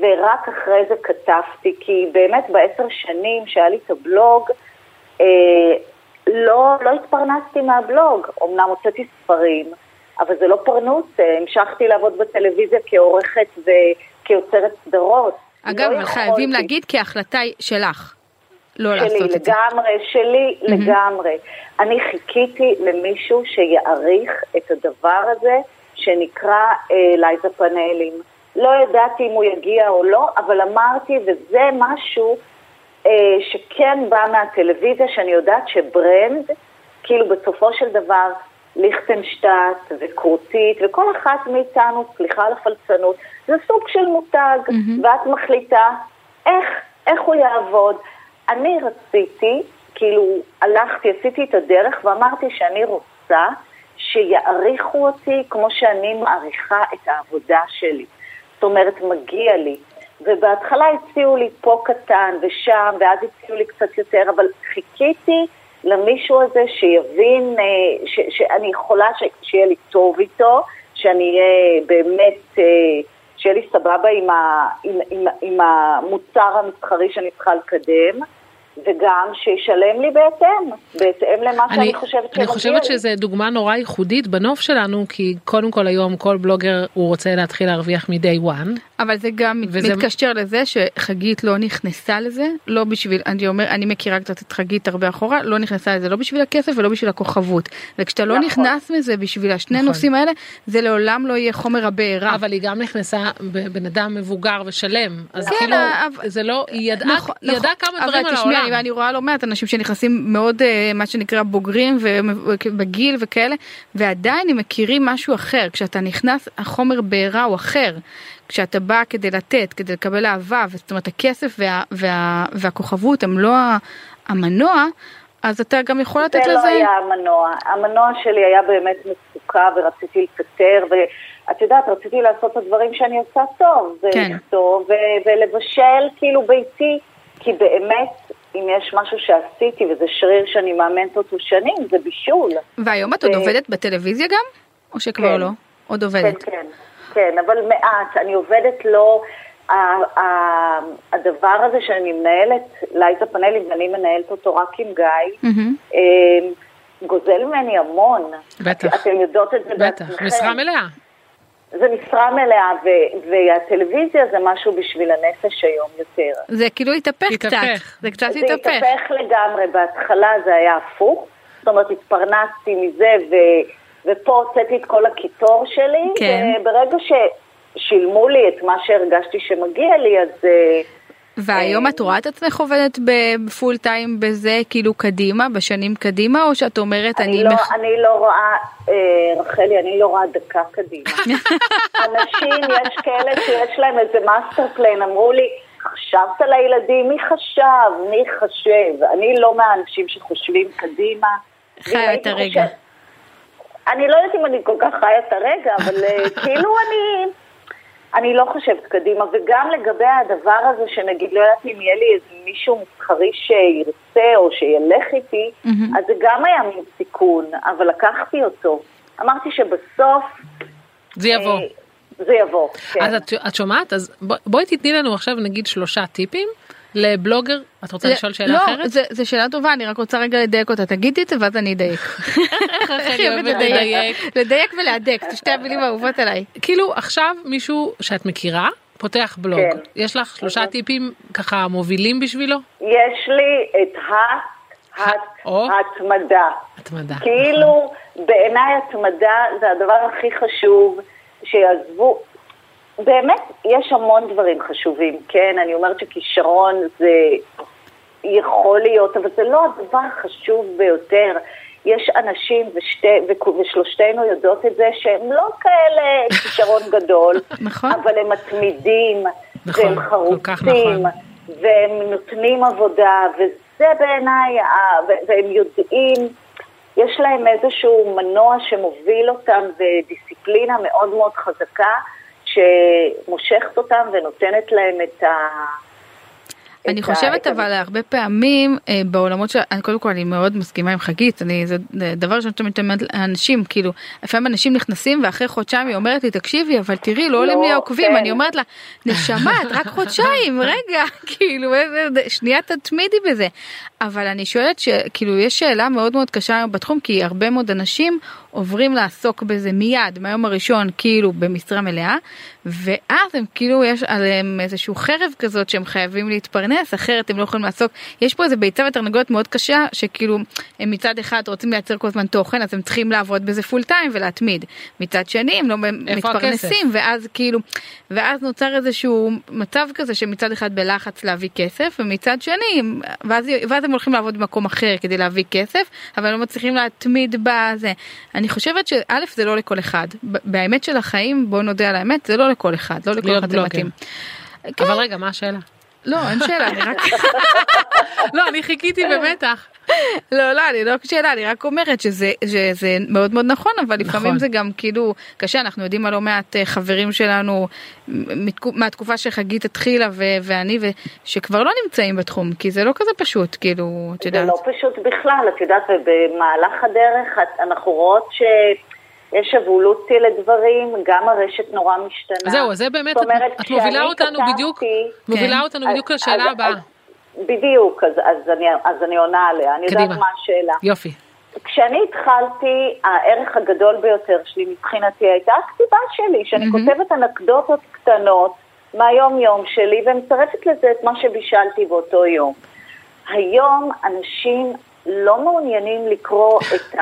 Speaker 1: ורק אחרי זה כתבתי, כי באמת בעשר שנים שהיה לי את הבלוג, אה, לא, לא התפרנסתי מהבלוג. אמנם הוצאתי ספרים, אבל זה לא פרנוס, אה, המשכתי לעבוד בטלוויזיה כעורכת וכיוצרת סדרות.
Speaker 3: אגב,
Speaker 1: לא
Speaker 3: אבל חייבים
Speaker 1: יכולתי.
Speaker 3: להגיד כי ההחלטה היא שלך, לא
Speaker 1: שלי
Speaker 3: לעשות את זה. Mm-hmm.
Speaker 1: לגמרי, שלי לגמרי. אני חיכיתי למישהו שיעריך את הדבר הזה שנקרא אה, לייזה פאנלים. לא ידעתי אם הוא יגיע או לא, אבל אמרתי, וזה משהו אה, שכן בא מהטלוויזיה, שאני יודעת שברנד, כאילו בסופו של דבר, ליכטנשטט וקורטית, וכל אחת מאיתנו, סליחה על הפלצנות, זה סוג של מותג,
Speaker 3: Mm-hmm.
Speaker 1: ואת מחליטה איך, איך הוא יעבוד. אני רציתי, כאילו, הלכתי, עשיתי את הדרך ואמרתי שאני רוצה שיעריכו אותי כמו שאני מעריכה את העבודה שלי. זאת אומרת, מגיע לי. ובהתחלה הציעו לי פה קטן ושם, ואז הציעו לי קצת יותר, אבל חיכיתי למישהו הזה שיבין אה, ש, שאני יכולה ש, שיהיה לי טוב איתו, שאני אהיה באמת, אה, שיהיה לי סבבה עם, ה, עם, עם, עם המוצר המסחרי שאני צריכה לקדם. וגם שישלם לי בהתאם, בהתאם למה
Speaker 2: אני,
Speaker 1: שאני חושבת שמגיע
Speaker 2: אני חושבת
Speaker 1: לי.
Speaker 2: שזו דוגמה נורא ייחודית בנוף שלנו, כי קודם כל היום כל בלוגר הוא רוצה להתחיל להרוויח מ-day one.
Speaker 3: אבל זה גם מת-
Speaker 2: וזה-
Speaker 3: מתקשר לזה שחגית לא נכנסה לזה, לא בשביל, אני אומר, אני מכירה קצת את חגית הרבה אחורה, לא נכנסה לזה לא בשביל הכסף ולא בשביל הכוכבות. וכשאתה לא
Speaker 1: נכון.
Speaker 3: נכנס מזה בשביל השני
Speaker 2: נכון.
Speaker 3: הנושאים האלה, זה לעולם לא יהיה חומר הבעירה.
Speaker 2: אבל היא גם נכנסה בבן אדם מבוגר ושלם, אז
Speaker 3: כן,
Speaker 2: כאילו
Speaker 3: אבל-
Speaker 2: זה לא, היא ידעה
Speaker 3: נכון,
Speaker 2: היא ידעה
Speaker 3: נכון.
Speaker 2: כמה דברים על
Speaker 3: אבל תשמעי,
Speaker 2: העולם.
Speaker 3: אני- אני רואה לא מעט אנשים שנכנסים מאוד, אה, מה שנקרא, בוגרים ובגיל וכאלה, ועדיין הם מכירים משהו אחר. כשאתה נכנס, החומר בעירה הוא אחר. כשאתה בא כדי לתת, כדי לקבל אהבה, זאת אומרת, הכסף וה, וה, והכוכבות הם לא ה- המנוע, אז אתה גם יכול לתת
Speaker 1: זה
Speaker 3: לזה...
Speaker 1: לא היה המנוע. המנוע שלי היה באמת מצוקה ורציתי לקטר, ואת יודעת, רציתי לעשות את הדברים שאני עושה טוב,
Speaker 3: כן.
Speaker 1: ולכתוב, ו- ולבשל כאילו ביתי, כי באמת, אם יש משהו שעשיתי, וזה שריר שאני מאמנת אותו שנים, זה בישול.
Speaker 3: והיום את עוד
Speaker 1: זה-
Speaker 3: עובדת בטלוויזיה גם? או שכבר
Speaker 1: אה, כן.
Speaker 3: לא? עוד
Speaker 1: כן,
Speaker 3: עובדת.
Speaker 1: כן, כן, אבל מעט. אני עובדת לא... ה- ה- הדבר הזה שאני מנהלת, לייזה פאנלים, ואני מנהלת אותו רק עם גיא,
Speaker 3: מהמם.
Speaker 1: אה, גוזל ממני המון.
Speaker 2: בטח.
Speaker 1: אתם יודעות את זה
Speaker 2: בטח,
Speaker 3: אה,
Speaker 1: בעצמכם.
Speaker 2: משרה מלאה.
Speaker 1: זה משרה מלאה, ו- והטלוויזיה זה משהו בשביל הנפש היום יותר.
Speaker 3: זה כאילו התהפך קצת.
Speaker 2: התהפך.
Speaker 3: זה קצת
Speaker 1: זה
Speaker 3: התהפך.
Speaker 1: התהפך לגמרי, בהתחלה זה היה הפוך. זאת אומרת, התפרנסתי מזה, ו- ופה הוצאתי את כל הקיטור שלי,
Speaker 3: כן.
Speaker 1: וברגע ששילמו לי את מה שהרגשתי שמגיע לי, אז... אה,
Speaker 3: והיום את רואה את עצמך עובדת בפול טיים בזה כאילו קדימה בשנים קדימה או שאת אומרת אני,
Speaker 1: אני לא, אני לא רואה, אה, רחלי, אני לא רואה דקה קדימה. אנשים, יש כאלה שיש להם איזה מאסטר פליין, אמרו לי, חשבת על הילדים? מי חשב? מי חשב? אני לא מהאנשים שחושבים קדימה.
Speaker 3: חיה
Speaker 1: ואם הייתי
Speaker 3: את הרגע.
Speaker 1: חושבת- אני לא יודעת אם אני כל כך חיה את הרגע, אבל אה, כאילו אני... אני לא חושבת קדימה, וגם לגבי הדבר הזה שנגיד, לא יודעת אם יהיה לי איזה מישהו מסחרי שירצה או שילך איתי,
Speaker 3: מהמם.
Speaker 1: אז זה גם היה מין סיכון, אבל לקחתי אותו. אמרתי שבסוף...
Speaker 2: זה יבוא.
Speaker 1: אה, זה יבוא, כן.
Speaker 2: אז את, את שומעת? אז בוא- בואי תתני לנו עכשיו נגיד שלושה טיפים לבלוגר. את רוצה לשאול שאלה
Speaker 3: לא,
Speaker 2: אחרת?
Speaker 3: זה, זה שאלה טובה אני רק רוצה רגע לדייק אותה תגידי את זה ואז אני אדייק. איך היא אוהבת
Speaker 2: אוהבת לדייק.
Speaker 3: לדייק ולהדק זה שתי המילים האהובות עליי.
Speaker 2: כאילו עכשיו מישהו שאת מכירה פותח בלוג,
Speaker 1: כן.
Speaker 2: יש לך
Speaker 3: אוקיי.
Speaker 2: שלושה טיפים ככה מובילים בשבילו?
Speaker 1: יש לי את ה... הת-
Speaker 2: או.
Speaker 1: התמדה.
Speaker 2: התמדה.
Speaker 1: כאילו, בעיניי התמדה זה הדבר הכי חשוב, שיעזבו... באמת, יש המון דברים חשובים, כן? אני אומרת שכישרון זה יכול להיות, אבל זה לא הדבר החשוב ביותר. יש אנשים, ושתי, וכו- ושלושתנו יודעות את זה, שהם לא כאלה כישרון גדול,
Speaker 3: נכון.
Speaker 1: אבל הם מתמידים,
Speaker 2: נכון,
Speaker 1: והם
Speaker 2: כל כך
Speaker 1: חרוצים,
Speaker 2: נכון.
Speaker 1: והם נותנים עבודה, וזה בעיניי, ה- ו- והם יודעים, יש להם איזשהו מנוע שמוביל אותם בדיסציפלינה מאוד מאוד חזקה, שמושכת אותם ונותנת להם את ה...
Speaker 3: אני
Speaker 1: את ה-
Speaker 3: חושבת
Speaker 1: את ה-
Speaker 3: אבל הרבה פעמים אה, בעולמות של אני קודם כל אני מאוד מסכימה עם חגית אני זה דבר שאני תמיד אומרת לאנשים כאילו לפעמים אנשים נכנסים ואחרי חודשיים היא אומרת לי תקשיבי אבל תראי לא עולים לי
Speaker 1: לא,
Speaker 3: העוקבים
Speaker 1: כן.
Speaker 3: אני אומרת לה נשמה את רק חודשיים רגע כאילו איזה- שנייה תתמידי בזה אבל אני שואלת שכאילו יש שאלה מאוד מאוד קשה היום בתחום כי הרבה מאוד אנשים עוברים לעסוק בזה מיד מהיום הראשון כאילו במשרה מלאה ואז הם כאילו יש עליהם איזשהו חרב כזאת שהם חייבים להתפרנס אחרת הם לא יכולים לעסוק יש פה איזה ביצה ותרנגולת מאוד קשה שכאילו הם מצד אחד רוצים לייצר כל הזמן תוכן אז הם צריכים לעבוד בזה פול טיים ולהתמיד מצד שני הם לא
Speaker 2: איפה הכסף?
Speaker 3: מתפרנסים ואז כאילו ואז נוצר איזשהו מצב כזה שמצד אחד בלחץ להביא כסף ומצד שני הם- ואז, ואז הם הולכים לעבוד במקום אחר כדי להביא כסף אבל לא מצליחים להתמיד בזה. אני חושבת שא' זה לא לכל אחד ב- באמת של החיים בוא נודה על האמת זה לא לכל אחד לא לכל
Speaker 2: להיות
Speaker 3: אחד זה
Speaker 2: בלוגר.
Speaker 3: מתאים. כן,
Speaker 2: אבל רגע, מה השאלה?
Speaker 3: לא אין שאלה אני רק
Speaker 2: לא, אני חיכיתי במתח.
Speaker 3: לא, לא, אני לא שאלה, אני רק אומרת שזה, שזה מאוד מאוד נכון, אבל לפעמים
Speaker 2: נכון.
Speaker 3: זה גם כאילו קשה, אנחנו יודעים על לא מעט אה, חברים שלנו מ- מתקו- מהתקופה שחגית התחילה ו- ואני, ו- שכבר לא נמצאים בתחום, כי זה לא כזה פשוט, כאילו, את
Speaker 1: זה
Speaker 3: יודעת.
Speaker 1: לא פשוט בכלל, את יודעת, ובמהלך הדרך את- אנחנו רואות שיש אבולוציה לדברים, גם הרשת נורא משתנה.
Speaker 2: אז זהו, אז זה באמת,
Speaker 1: זאת
Speaker 2: את-
Speaker 1: אומרת,
Speaker 2: את מובילה
Speaker 1: כשאני
Speaker 2: אותנו
Speaker 1: כתבתי- כן.
Speaker 2: בדיוק, מובילה אותנו בדיוק
Speaker 1: אז-
Speaker 2: לשאלה
Speaker 1: אז-
Speaker 2: הבאה.
Speaker 1: אז- בדיוק, אז- אז אני- אז אני עונה עליה, אני יודעת
Speaker 2: קדימה.
Speaker 1: מה השאלה.
Speaker 2: יופי.
Speaker 1: כשאני התחלתי, הערך הגדול ביותר שלי מבחינתי הייתה הכתיבה שלי, שאני כותבת אנקדוטות קטנות מהיום-יום שלי ומצרפת לזה את מה שבישלתי באותו יום. היום אנשים לא מעוניינים לקרוא את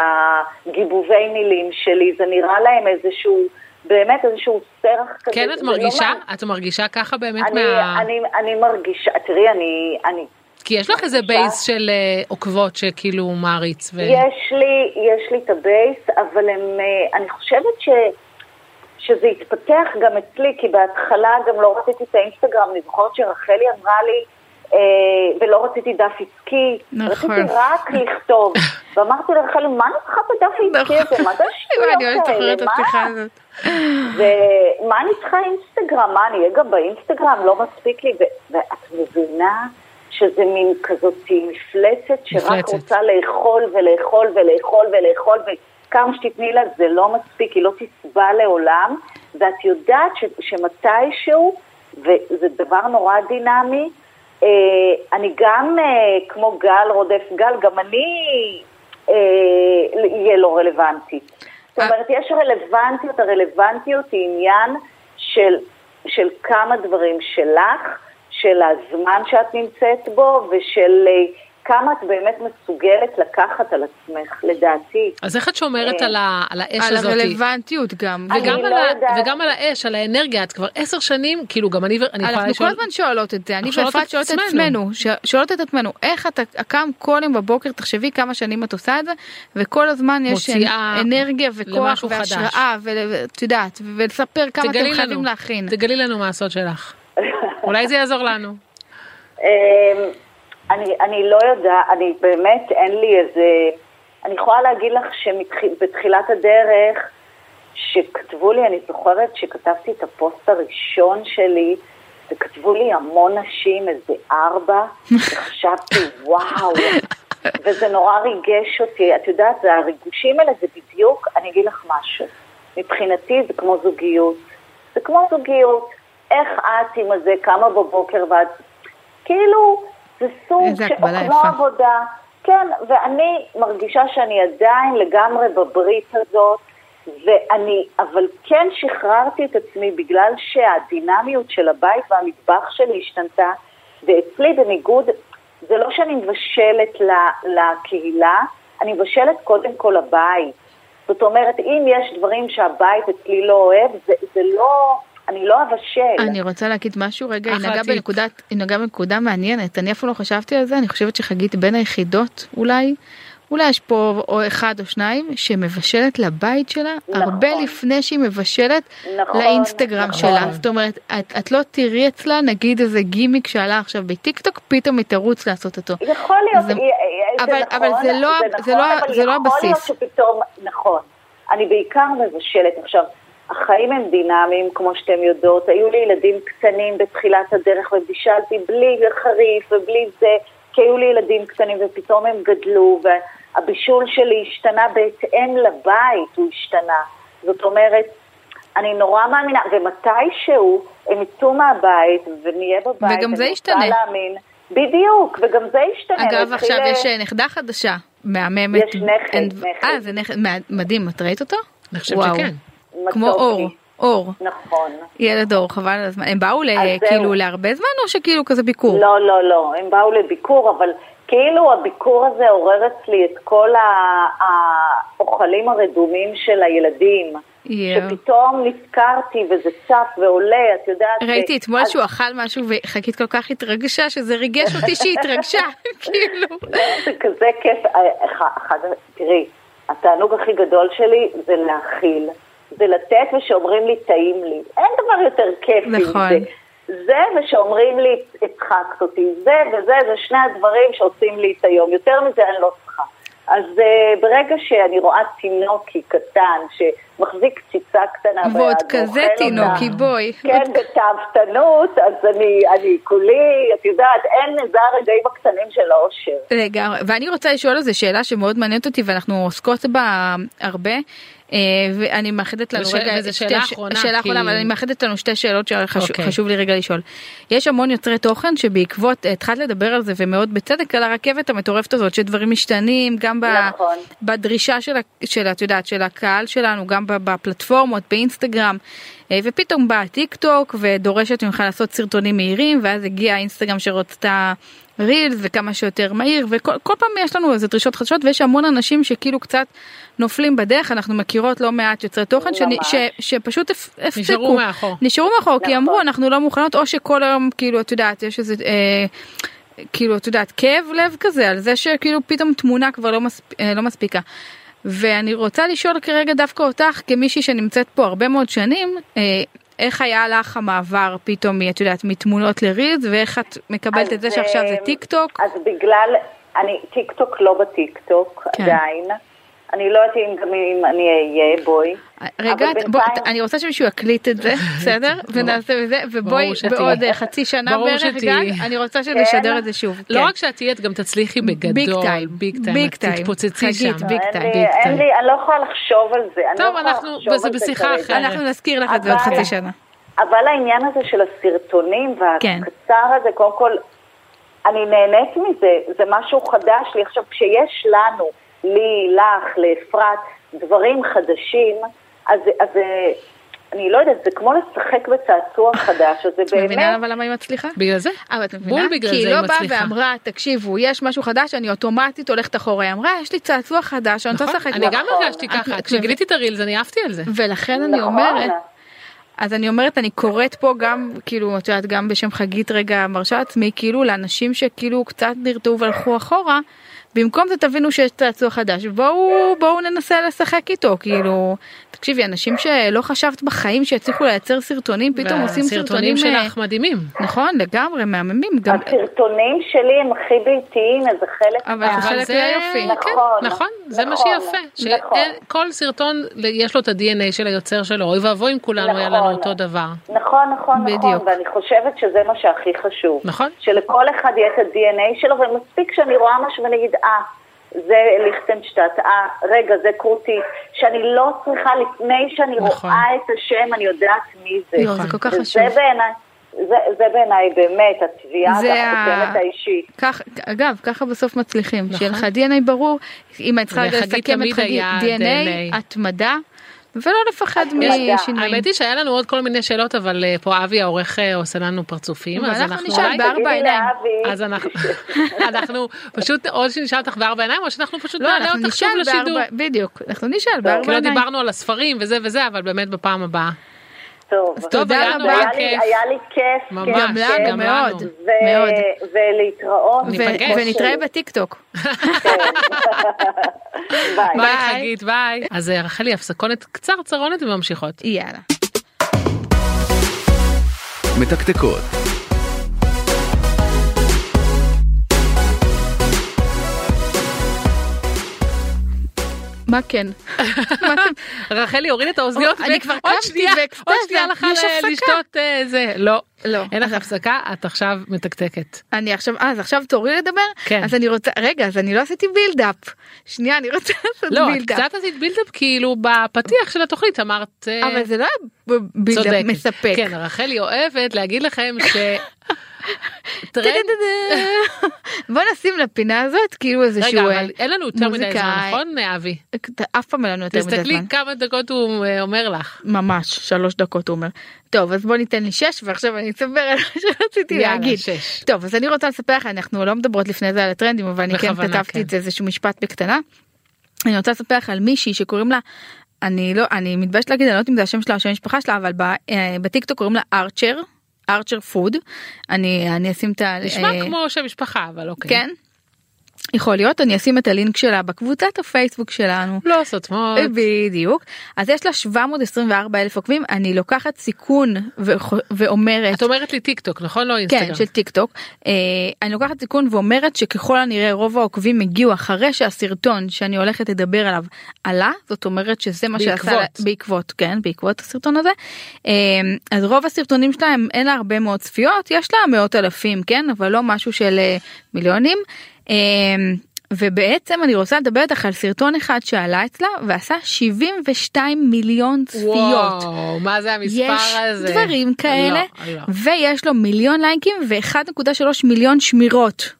Speaker 1: הגיבובי מילים שלי, זה נראה להם איזשהו, באמת איזשהו סרח כזה.
Speaker 2: כן, את
Speaker 1: זה לא
Speaker 2: מרגישה?
Speaker 1: מעניין.
Speaker 2: את מרגישה ככה באמת
Speaker 1: אני,
Speaker 2: מה...
Speaker 1: אני, אני מרגישה, תראי, אני, אני
Speaker 2: כי יש לך איזה בייס של אה, עוקבות שכאילו מעריץ. ו-
Speaker 1: יש לי, יש לי את הבייס, אבל הם, אה, אני חושבת ש, שזה התפתח גם אצלי, כי בהתחלה גם לא רציתי את האינסטגרם, אני זוכרת שרחלי אמרה לי, אה, ולא רציתי דף עסקי,
Speaker 3: נכון.
Speaker 1: רציתי רק לכתוב. ואמרתי לרחלי, מה אני צריכה בדף העסקי הזה? מה זה
Speaker 3: נכון. אני ממש
Speaker 1: השטויות האלה?
Speaker 3: זוכרת את השיחה
Speaker 1: מה?
Speaker 3: הזאת.
Speaker 1: ומה אני צריכה אינסטגרם? מה, אני אהיה גם באינסטגרם? לא מספיק לי. ו- ואת מבינה שזה מין כזאת מפלצת שרק
Speaker 2: מפלצת.
Speaker 1: רוצה לאכול ולאכול ולאכול ולאכול, וכמה שתתני לה זה לא מספיק, היא לא תסבע לעולם, ואת יודעת ש- שמתישהו, וזה דבר נורא דינמי, אה, אני גם, אה, כמו גל רודף גל, גם אני אה, אהיה לא רלוונטית. זאת אומרת, יש רלוונטיות, הרלוונטיות היא עניין של, של כמה דברים שלך, של הזמן שאת נמצאת בו ושל אה, כמה את באמת מסוגלת לקחת על עצמך, לדעתי.
Speaker 2: אז איך את שומרת
Speaker 1: אה,
Speaker 2: על ה- על האש
Speaker 3: על
Speaker 2: הזאת?
Speaker 3: הרלוונטיות גם.
Speaker 1: אני
Speaker 2: וגם,
Speaker 1: לא
Speaker 2: על ה...
Speaker 1: יודעת.
Speaker 2: וגם על האש, על האנרגיה, את כבר עשר שנים, כאילו גם אני, ו- אני יכולה
Speaker 3: אנחנו כל
Speaker 2: לשאול,
Speaker 3: הזמן שואלות את זה, אני
Speaker 2: אנחנו שואלות
Speaker 3: ואפרת
Speaker 2: את
Speaker 3: שואלות את
Speaker 2: עצמנו.
Speaker 3: עצמנו, ש- שואלות את עצמנו, איך את הקם כל יום בבוקר, תחשבי כמה שנים את עושה את זה, וכל הזמן יש
Speaker 2: מוציאה
Speaker 3: אנ- אנרגיה וכוח
Speaker 2: למשהו חדש.
Speaker 3: והשראה, ול- ואת יודעת, ולספר כמה אתם
Speaker 2: תגלי לנו,
Speaker 3: חייבים להכין.
Speaker 2: תגלי לנו מה הסוד שלך. אולי זה יעזור לנו.
Speaker 1: אמ, אני, אני לא יודעת, אני באמת, אין לי איזה... אני יכולה להגיד לך שבתחילת הדרך, שכתבו לי, אני זוכרת שכתבתי את הפוסט הראשון שלי, וכתבו לי המון נשים, איזה ארבע, וחשבתי, וואו, וזה נורא ריגש אותי. את יודעת, זה הריגושים האלה זה בדיוק, אני אגיד לך משהו, מבחינתי זה כמו זוגיות. זה כמו זוגיות, איך את עם הזה קמה בבוקר ואת... כאילו, זה סוג
Speaker 3: איזה
Speaker 1: של
Speaker 3: הקבלה
Speaker 1: כמו
Speaker 3: יפה.
Speaker 1: עבודה. כן, ואני מרגישה שאני עדיין לגמרי בברית הזאת, ואני, אבל כן שחררתי את עצמי בגלל שהדינמיות של הבית והמטבח שלי השתנתה, ואצלי בניגוד, זה לא שאני מבשלת ל- לקהילה, אני מבשלת קודם כל לבית. זאת אומרת, אם יש דברים שהבית אצלי לא אוהב, זה, זה לא, אני לא אבשל.
Speaker 3: אני רוצה להגיד משהו רגע, היא
Speaker 2: אחלה
Speaker 3: נגעה
Speaker 2: טיפ.
Speaker 3: בנקודת- היא נגעה בנקודה מעניינת, אני אף פעם לא חשבתי על זה, אני חושבת שחגית בין היחידות אולי, אולי יש פה או אחד או שניים, שמבשלת לבית שלה
Speaker 1: נכון.
Speaker 3: הרבה לפני שהיא מבשלת
Speaker 1: נכון,
Speaker 3: לאינסטגרם
Speaker 1: נכון.
Speaker 3: שלה, זאת אומרת, את- את לא תראי אצלה נגיד איזה גימיק שעלה עכשיו בטיק טוק, פתאום היא תרוץ לעשות אותו.
Speaker 1: יכול להיות,
Speaker 3: זה-
Speaker 1: זה, זה
Speaker 3: אבל-
Speaker 1: נכון,
Speaker 3: אבל זה לא-
Speaker 1: זה
Speaker 3: זה
Speaker 1: נכון,
Speaker 3: לא-
Speaker 1: אבל
Speaker 3: זה לא
Speaker 1: יכול להיות
Speaker 3: הבסיס.
Speaker 1: שפתאום, נכון, אני בעיקר מבשלת. עכשיו, החיים הם דינמיים, כמו שאתם יודעות, היו לי ילדים קטנים בתחילת הדרך ובישלתי בלי חריף ובלי זה, כי היו לי ילדים קטנים ופתאום הם גדלו, והבישול שלי השתנה בהתאם לבית, הוא השתנה. זאת אומרת, אני נורא מאמינה, ומתישהו הם יצאו מהבית ונהיה
Speaker 3: וגם
Speaker 1: בבית,
Speaker 3: זה
Speaker 1: אני רוצה
Speaker 3: ישתנה.
Speaker 1: להאמין. בדיוק, וגם זה ישתנה.
Speaker 3: אגב,
Speaker 1: נתחיל,
Speaker 3: עכשיו
Speaker 1: אה,
Speaker 3: יש אה, נכדה חדשה, מהממת.
Speaker 1: יש נכד,
Speaker 3: אין-
Speaker 1: נכד.
Speaker 3: אה, זה נכד, מה- מדהים, את ראית אותו?
Speaker 2: אני חושבת
Speaker 3: וואו.
Speaker 2: שכן.
Speaker 1: מצוק
Speaker 3: כמו אור,
Speaker 1: לי.
Speaker 3: אור.
Speaker 1: נכון.
Speaker 3: ילד אור, חבל על הזמן. הם באו ל-
Speaker 1: אז זהו.
Speaker 3: כאילו להרבה זמן או שכאילו כזה ביקור?
Speaker 1: לא, לא, לא, הם באו לביקור, אבל כאילו הביקור הזה עורר אצלי את כל ה- האוכלים הרדומים של הילדים.
Speaker 3: יואו.
Speaker 1: שפתאום נזכרתי וזה צף ועולה, את יודעת.
Speaker 3: ראיתי
Speaker 1: ו-
Speaker 3: אתמול
Speaker 1: אז-
Speaker 3: שהוא אכל משהו וחגית כל כך התרגשה שזה ריגש אותי שהיא התרגשה, כאילו.
Speaker 1: זה כזה כיף. אה, אחד- אחד- תראי, התענוג הכי גדול שלי זה להכיל. זה לתת ושאומרים לי, טעים לי. אין דבר יותר כיף
Speaker 3: נכון.
Speaker 1: מזה. זה ושאומרים לי, הצחקת אותי, זה וזה, זה שני הדברים שעושים לי את היום. יותר מזה אני לא צריכה. אז uh, ברגע שאני רואה תינוקי קטן שמחזיק קציצה קטנה ביד,
Speaker 3: ועוד
Speaker 1: ואוכל
Speaker 3: כזה
Speaker 1: אותה,
Speaker 3: תינוקי, בואי.
Speaker 1: כן, בתאוותנות, אז אני, אני כולי, את יודעת, אין, זה הרגעים הקטנים של האושר.
Speaker 3: לגמרי, ואני רוצה לשאול על זה שאלה שמאוד מעניינת אותי ואנחנו עוסקות בה הרבה. אה, ואני מאחדת לנו
Speaker 2: וש-
Speaker 3: רגע,
Speaker 2: וזו
Speaker 3: את
Speaker 2: שאלה
Speaker 3: שתי הש-
Speaker 2: אחרונה,
Speaker 3: שאלה
Speaker 2: כי-
Speaker 3: אחרונה, אבל אני מאחדת לנו שתי שאלות
Speaker 2: אוקיי.
Speaker 3: שחשוב לי רגע לשאול. יש המון יוצרי תוכן שבעקבות, אה, התחלת לדבר על זה ומאוד בצדק, על הרכבת המטורפת הזאת, שדברים משתנים, גם ב...
Speaker 1: נכון.
Speaker 3: בדרישה של, ה- של, את יודעת, של הקהל שלנו, גם ב- בפלטפורמות, באינסטגרם, אה, ופתאום בא הטיק טוק ודורשת ממך לעשות סרטונים מהירים, ואז הגיע האינסטגרם שרצתה רילס וכמה שיותר מהיר, וכל כל פעם יש לנו איזה דרישות חדשות, ויש המון אנשים שכאילו קצת נופלים בדרך, אנחנו מכירות לא מעט יוצרי תוכן שנ,
Speaker 1: ממש.
Speaker 3: ש, שפשוט הפ- הפסיקו.
Speaker 2: נשארו מאחור.
Speaker 3: נשארו מאחור כי
Speaker 1: נכון.
Speaker 3: אמרו אנחנו לא מוכנות או שכל היום כאילו את יודעת יש איזה אה, כאילו את יודעת כאב לב כזה על זה שכאילו פתאום תמונה כבר לא, מספ... אה, לא מספיקה. ואני רוצה לשאול כרגע דווקא אותך כמישהי שנמצאת פה הרבה מאוד שנים אה, איך היה לך המעבר פתאום מ- את יודעת מתמונות לרילס ואיך את מקבלת
Speaker 1: אז,
Speaker 3: את זה שעכשיו זה
Speaker 1: אה,
Speaker 3: טיק טוק
Speaker 1: אז בגלל, אני טיק טוק לא בטיק טוק
Speaker 3: כן.
Speaker 1: עדיין. אני לא יודעת אם גם אם אני אהיה, בואי.
Speaker 3: רגע,
Speaker 1: אבל
Speaker 3: את- בוא,
Speaker 1: בינתיים-
Speaker 3: את- אני רוצה שמישהו יקליט את זה, בסדר? ונעשה את זה, ובואי
Speaker 2: ברור שתהיי.
Speaker 3: בעוד אה, חצי שנה
Speaker 2: ברור
Speaker 3: בערך,
Speaker 2: שתהיי.
Speaker 3: גל, אני רוצה שנשדר את זה שוב.
Speaker 2: לא
Speaker 3: כן.
Speaker 2: רק שאת תהיי, את גם תצליחי בגדול.
Speaker 3: ביג טיים,
Speaker 2: ביג טיים.
Speaker 3: ביג
Speaker 2: את
Speaker 3: טיים.
Speaker 2: תתפוצצי
Speaker 3: חגית,
Speaker 2: שם.
Speaker 3: ביג
Speaker 1: אין
Speaker 3: טיים,
Speaker 1: לי-
Speaker 2: ביג
Speaker 1: אין
Speaker 2: טיים.
Speaker 1: לי, אני לא יכולה לחשוב על זה. אני לא
Speaker 2: טוב,
Speaker 1: יכולה
Speaker 2: אנחנו-
Speaker 1: לחשוב
Speaker 2: זה
Speaker 1: על זה
Speaker 2: בשיחה
Speaker 1: כרגע.
Speaker 2: אחרת.
Speaker 3: אנחנו נזכיר לך את זה עוד
Speaker 1: אבל-
Speaker 3: חצי שנה.
Speaker 1: אבל העניין הזה של הסרטונים
Speaker 3: כן.
Speaker 1: והקצר הזה, קודם כל, אני נהנית מזה, זה משהו חדש לי. עכשיו, כשיש לנו, לי, לך, לאפרת, דברים חדשים, אז, אז אה, אני לא יודעת, זה כמו לשחק בצעצוע חדש, אז זה
Speaker 3: את מבינה
Speaker 1: באמת...
Speaker 3: אבל למה היא מצליחה?
Speaker 2: בגלל זה?
Speaker 3: אבל אה, את מבינה?
Speaker 2: בול בגלל זה
Speaker 3: כי
Speaker 2: היא
Speaker 3: היא לא באה
Speaker 2: מצליחה.
Speaker 3: ואמרה, תקשיבו, יש משהו חדש, אני אוטומטית הולכת אחורה. היא אמרה, יש לי צעצוע חדש, אני רוצה
Speaker 2: נכון?
Speaker 3: לשחק.
Speaker 2: אני
Speaker 3: בו."
Speaker 2: גם
Speaker 1: נכון.
Speaker 2: הרגשתי
Speaker 3: את-
Speaker 2: ככה.
Speaker 3: את-
Speaker 2: כשגיליתי את הרילס, אני עפתי על זה.
Speaker 3: ולכן כן, אני
Speaker 1: נכון.
Speaker 3: אומרת, אז אני אומרת, אני קוראת פה גם, כאילו, את יודעת, גם בשם חגית רגע מרשה עצמי, כאילו, לאנשים שכאילו קצת נרתעו והלכו אחורה, במקום זה תבינו שיש צעצוע חדש, בואו, בואו ננסה לשחק איתו, כאילו, תקשיבי, אנשים שלא חשבת בחיים שיצליחו לייצר סרטונים, פתאום עושים סרטונים,
Speaker 2: והסרטונים
Speaker 3: אה,
Speaker 2: שלך מדהימים.
Speaker 3: נכון, לגמרי, מהממים, גם,
Speaker 1: אוקיי. הסרטונים שלי הם הכי ביתיים, אז זה חלק...
Speaker 3: אבל
Speaker 1: מה-
Speaker 3: זה חלק מהיופי.
Speaker 2: כן,
Speaker 1: נכון,
Speaker 2: נכון, זה מה
Speaker 1: נכון,
Speaker 2: שיפה, אה-
Speaker 1: נכון.
Speaker 2: שכל סרטון יש לו את ה-DNA של היוצר שלו, אוי ואבוי אם כולנו היה לנו
Speaker 1: נכון.
Speaker 2: אותו דבר.
Speaker 1: נכון, נכון,
Speaker 3: בדיוק.
Speaker 1: נכון, ואני חושבת שזה מה שהכי חשוב.
Speaker 2: נכון.
Speaker 1: שלכל אחד יהיה את ה-DNA שלו, ומספיק שאני רואה משהו ואני אגיד, אה, זה ליכטנשטט, אה, רגע, זה קרוטי, שאני לא צריכה, לפני שאני
Speaker 2: נכון.
Speaker 1: רואה את השם, אני יודעת מי זה.
Speaker 3: לא, זה כל כך חשוב.
Speaker 1: וזה בעיניי, זה, זה בעיניי באמת התביעה
Speaker 3: זה ה-
Speaker 1: והחותמת האישית.
Speaker 3: כך, אגב, ככה בסוף מצליחים,
Speaker 2: נכון.
Speaker 3: שיהיה לך DNA ברור, אם אני צריכה רגע
Speaker 2: וחגית
Speaker 3: לסכם את
Speaker 2: תמיד
Speaker 3: חגית,
Speaker 2: היה
Speaker 3: DNA,
Speaker 2: DNA.
Speaker 3: התמדה, ולא לפחד
Speaker 1: התמדה.
Speaker 3: משינויים.
Speaker 2: האמת היא שהיה לנו עוד כל מיני שאלות, אבל אה, פה אבי העורך אה, עושה לנו פרצופים, אז
Speaker 3: ואנחנו
Speaker 2: אנחנו
Speaker 3: נשאל
Speaker 2: אולי-
Speaker 3: בארבע
Speaker 1: תגידי
Speaker 3: עיניים.
Speaker 1: לאבי,
Speaker 2: אז אנחנו, אנחנו פשוט, או שנשאל אותך בארבע עיניים, או שאנחנו פשוט
Speaker 3: לא,
Speaker 2: נעלה
Speaker 3: אנחנו
Speaker 2: אותך שוב
Speaker 3: נשאל
Speaker 2: לשידור.
Speaker 3: בארבע, בדיוק, אנחנו נשאל
Speaker 2: כי
Speaker 3: בארבע
Speaker 2: לא
Speaker 3: עיניים.
Speaker 2: דיברנו על הספרים וזה וזה, אבל באמת בפעם הבאה.
Speaker 1: טוב.
Speaker 2: אז טוב,
Speaker 3: תודה
Speaker 2: היה
Speaker 3: רבה.
Speaker 2: נורא
Speaker 1: היה לי,
Speaker 2: כיף.
Speaker 1: היה לי כיף,
Speaker 2: ממש,
Speaker 1: כיף,
Speaker 3: גם לנו,
Speaker 1: כיף.
Speaker 2: גם
Speaker 3: מאוד.
Speaker 2: לנו.
Speaker 1: ו-
Speaker 3: מאוד.
Speaker 1: ולהתראות.
Speaker 3: ו-
Speaker 2: ניפגש.
Speaker 3: ונתראה בטיקטוק.
Speaker 1: ביי.
Speaker 2: ביי
Speaker 3: ביי.
Speaker 2: חגית, ביי. אז אה, רחלי, הפסקונת קצרצרונת וממשיכות.
Speaker 3: יאללה.
Speaker 4: מתקתקות.
Speaker 3: מה כן? מה אתם-
Speaker 2: רחלי הוריד את האוזניות
Speaker 3: אני כבר
Speaker 2: ועוד
Speaker 3: קמתי
Speaker 2: שנייה-
Speaker 3: באקסטזה,
Speaker 2: עוד שנייה לך
Speaker 3: יש
Speaker 2: ל-
Speaker 3: הפסקה.
Speaker 2: לשתות אה, זה לא
Speaker 3: לא.
Speaker 2: אין לך הפסקה את עכשיו מתקתקת
Speaker 3: אני עכשיו, אה, אז עכשיו תורי לדבר?
Speaker 2: כן.
Speaker 3: אז אני רוצה, רגע, אז אני לא עשיתי בילדאפ. שנייה, אני רוצה לעשות
Speaker 2: לא את
Speaker 3: בילדאפ.
Speaker 2: קצת עשית בילדאפ כאילו בפתיח של התוכנית אמרת אה,
Speaker 3: אבל זה לא היה בילדאפ
Speaker 2: צודקת.
Speaker 3: מספק.
Speaker 2: כן רחלי אוהבת להגיד לכם ש. טרנד
Speaker 3: טה-טה-טה-טה. בוא נשים לפינה הזאת כאילו
Speaker 2: רגע
Speaker 3: איזשהו אה,
Speaker 2: אבל אין לנו יותר מדי זמן
Speaker 3: מוזיקה,
Speaker 2: נכון אבי
Speaker 3: אף פעם אין לנו יותר מדי
Speaker 2: תסתכלי
Speaker 3: זמן.
Speaker 2: כמה דקות הוא אה, אומר לך.
Speaker 3: ממש שלוש דקות הוא אומר. טוב אז בוא ניתן לי שש ועכשיו אני אספר על מה שרציתי
Speaker 2: יאללה,
Speaker 3: להגיד.
Speaker 2: שש.
Speaker 3: טוב אז אני רוצה לספר לך אנחנו לא מדברות לפני זה על הטרנדים אבל אני כן
Speaker 2: בכוונה,
Speaker 3: כתבתי
Speaker 2: כן.
Speaker 3: את זה איזשהו משפט בקטנה. אני רוצה לספר לך על מישהי שקוראים לה אני לא אני מתביישת להגיד אני לא יודעת אם זה השם שלה או שם המשפחה שלה אבל ב- אה, בטיקטוק קוראים לה ארצ'ר ארצ'ר פוד אני אני אשים את ה...
Speaker 2: נשמע
Speaker 3: אה,
Speaker 2: כמו שם משפחה אבל אוקיי.
Speaker 3: כן. יכול להיות אני אשים את הלינק שלה בקבוצת הפייסבוק שלנו.
Speaker 2: לא סותמות.
Speaker 3: אה, בדיוק אז יש לה 724 אלף עוקבים אני לוקחת סיכון וח- ואומרת
Speaker 2: את אומרת לי טיק טוק נכון לא אינסטגרם.
Speaker 3: כן של טיק טוק אה, אני לוקחת סיכון ואומרת שככל הנראה רוב העוקבים הגיעו אחרי שהסרטון שאני הולכת לדבר עליו עלה זאת אומרת שזה מה שעשה לה-
Speaker 2: בעקבות.
Speaker 3: בעקבות כן בעקבות הסרטון הזה אה, אז רוב הסרטונים שלה הם אין לה הרבה מאוד צפיות יש לה מאות אלפים כן אבל לא משהו של אה, מיליונים. אה, ובעצם אני רוצה לדבר איתך על סרטון אחד שעלה אצלה ועשה 72 מיליון צפיות.
Speaker 2: וואו, מה זה המספר
Speaker 3: יש
Speaker 2: הזה?
Speaker 3: דברים כאלה
Speaker 2: לא, לא.
Speaker 3: ויש לו מיליון לייקים ו-1.3 מיליון שמירות.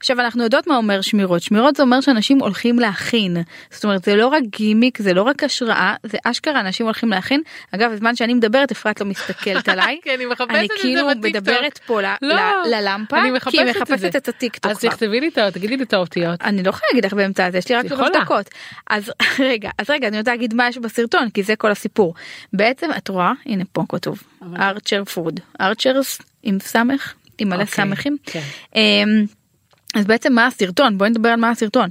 Speaker 3: עכשיו אנחנו יודעות מה אומר שמירות שמירות זה אומר שאנשים הולכים להכין זאת אומרת זה לא רק גימיק זה לא רק השראה זה אשכרה אנשים הולכים להכין אגב בזמן שאני מדברת אפרת לא מסתכלת עליי
Speaker 2: כי אני מחפשת
Speaker 3: אני
Speaker 2: את זה
Speaker 3: כאילו
Speaker 2: בטיקטוק.
Speaker 3: מדברת פה ל-
Speaker 2: לא,
Speaker 3: ל- ללמפה
Speaker 2: אני
Speaker 3: כי היא
Speaker 2: מחפשת את
Speaker 3: מחפשת
Speaker 2: זה.
Speaker 3: את הטיקטוק.
Speaker 2: אז
Speaker 3: כבר.
Speaker 2: תכתבי לי את ה... תגידי לי את האותיות.
Speaker 3: אני לא יכולה להגיד לך באמצע הזה, יש לי רק
Speaker 2: יכולה.
Speaker 3: שלוש דקות. אז רגע, אז רגע, אני רוצה להגיד מה יש בסרטון, כי זה כל הסיפור. בעצם את רואה, הנה פה כתוב, ארצ'ר פוד, ארצ'רס עם סמך, עם מלא
Speaker 2: אוקיי,
Speaker 3: סמכים.
Speaker 2: כן.
Speaker 3: אמ, אז בעצם מה הסרטון בואי נדבר על מה הסרטון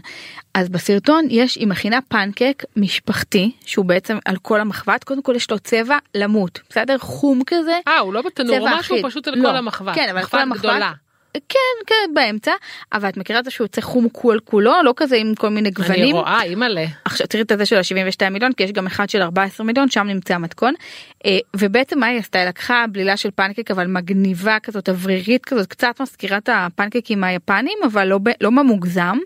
Speaker 3: אז בסרטון יש היא מכינה פנקק משפחתי שהוא בעצם על כל המחבת קודם כל יש לו צבע למות בסדר חום כזה
Speaker 2: אה, הוא לא בתנור או
Speaker 3: צבע
Speaker 2: משהו,
Speaker 3: אחיד.
Speaker 2: הוא פשוט על
Speaker 3: לא.
Speaker 2: כל המחווה.
Speaker 3: כן, אבל על כל המחבת.
Speaker 2: גדולה.
Speaker 3: כן כן באמצע אבל את מכירה את זה שהוא יוצא חום כול כולו לא כזה עם כל מיני גוונים.
Speaker 2: אני רואה, אימא'לה.
Speaker 3: עכשיו תראי את הזה של ה-72 מיליון כי יש גם אחד של 14 מיליון שם נמצא המתכון אה, ובעצם מה היא עשתה היא לקחה בלילה של פנקק אבל מגניבה כזאת אוורירית כזאת קצת מזכירה את הפנקקים היפנים אבל לא, ב- לא ממוגזם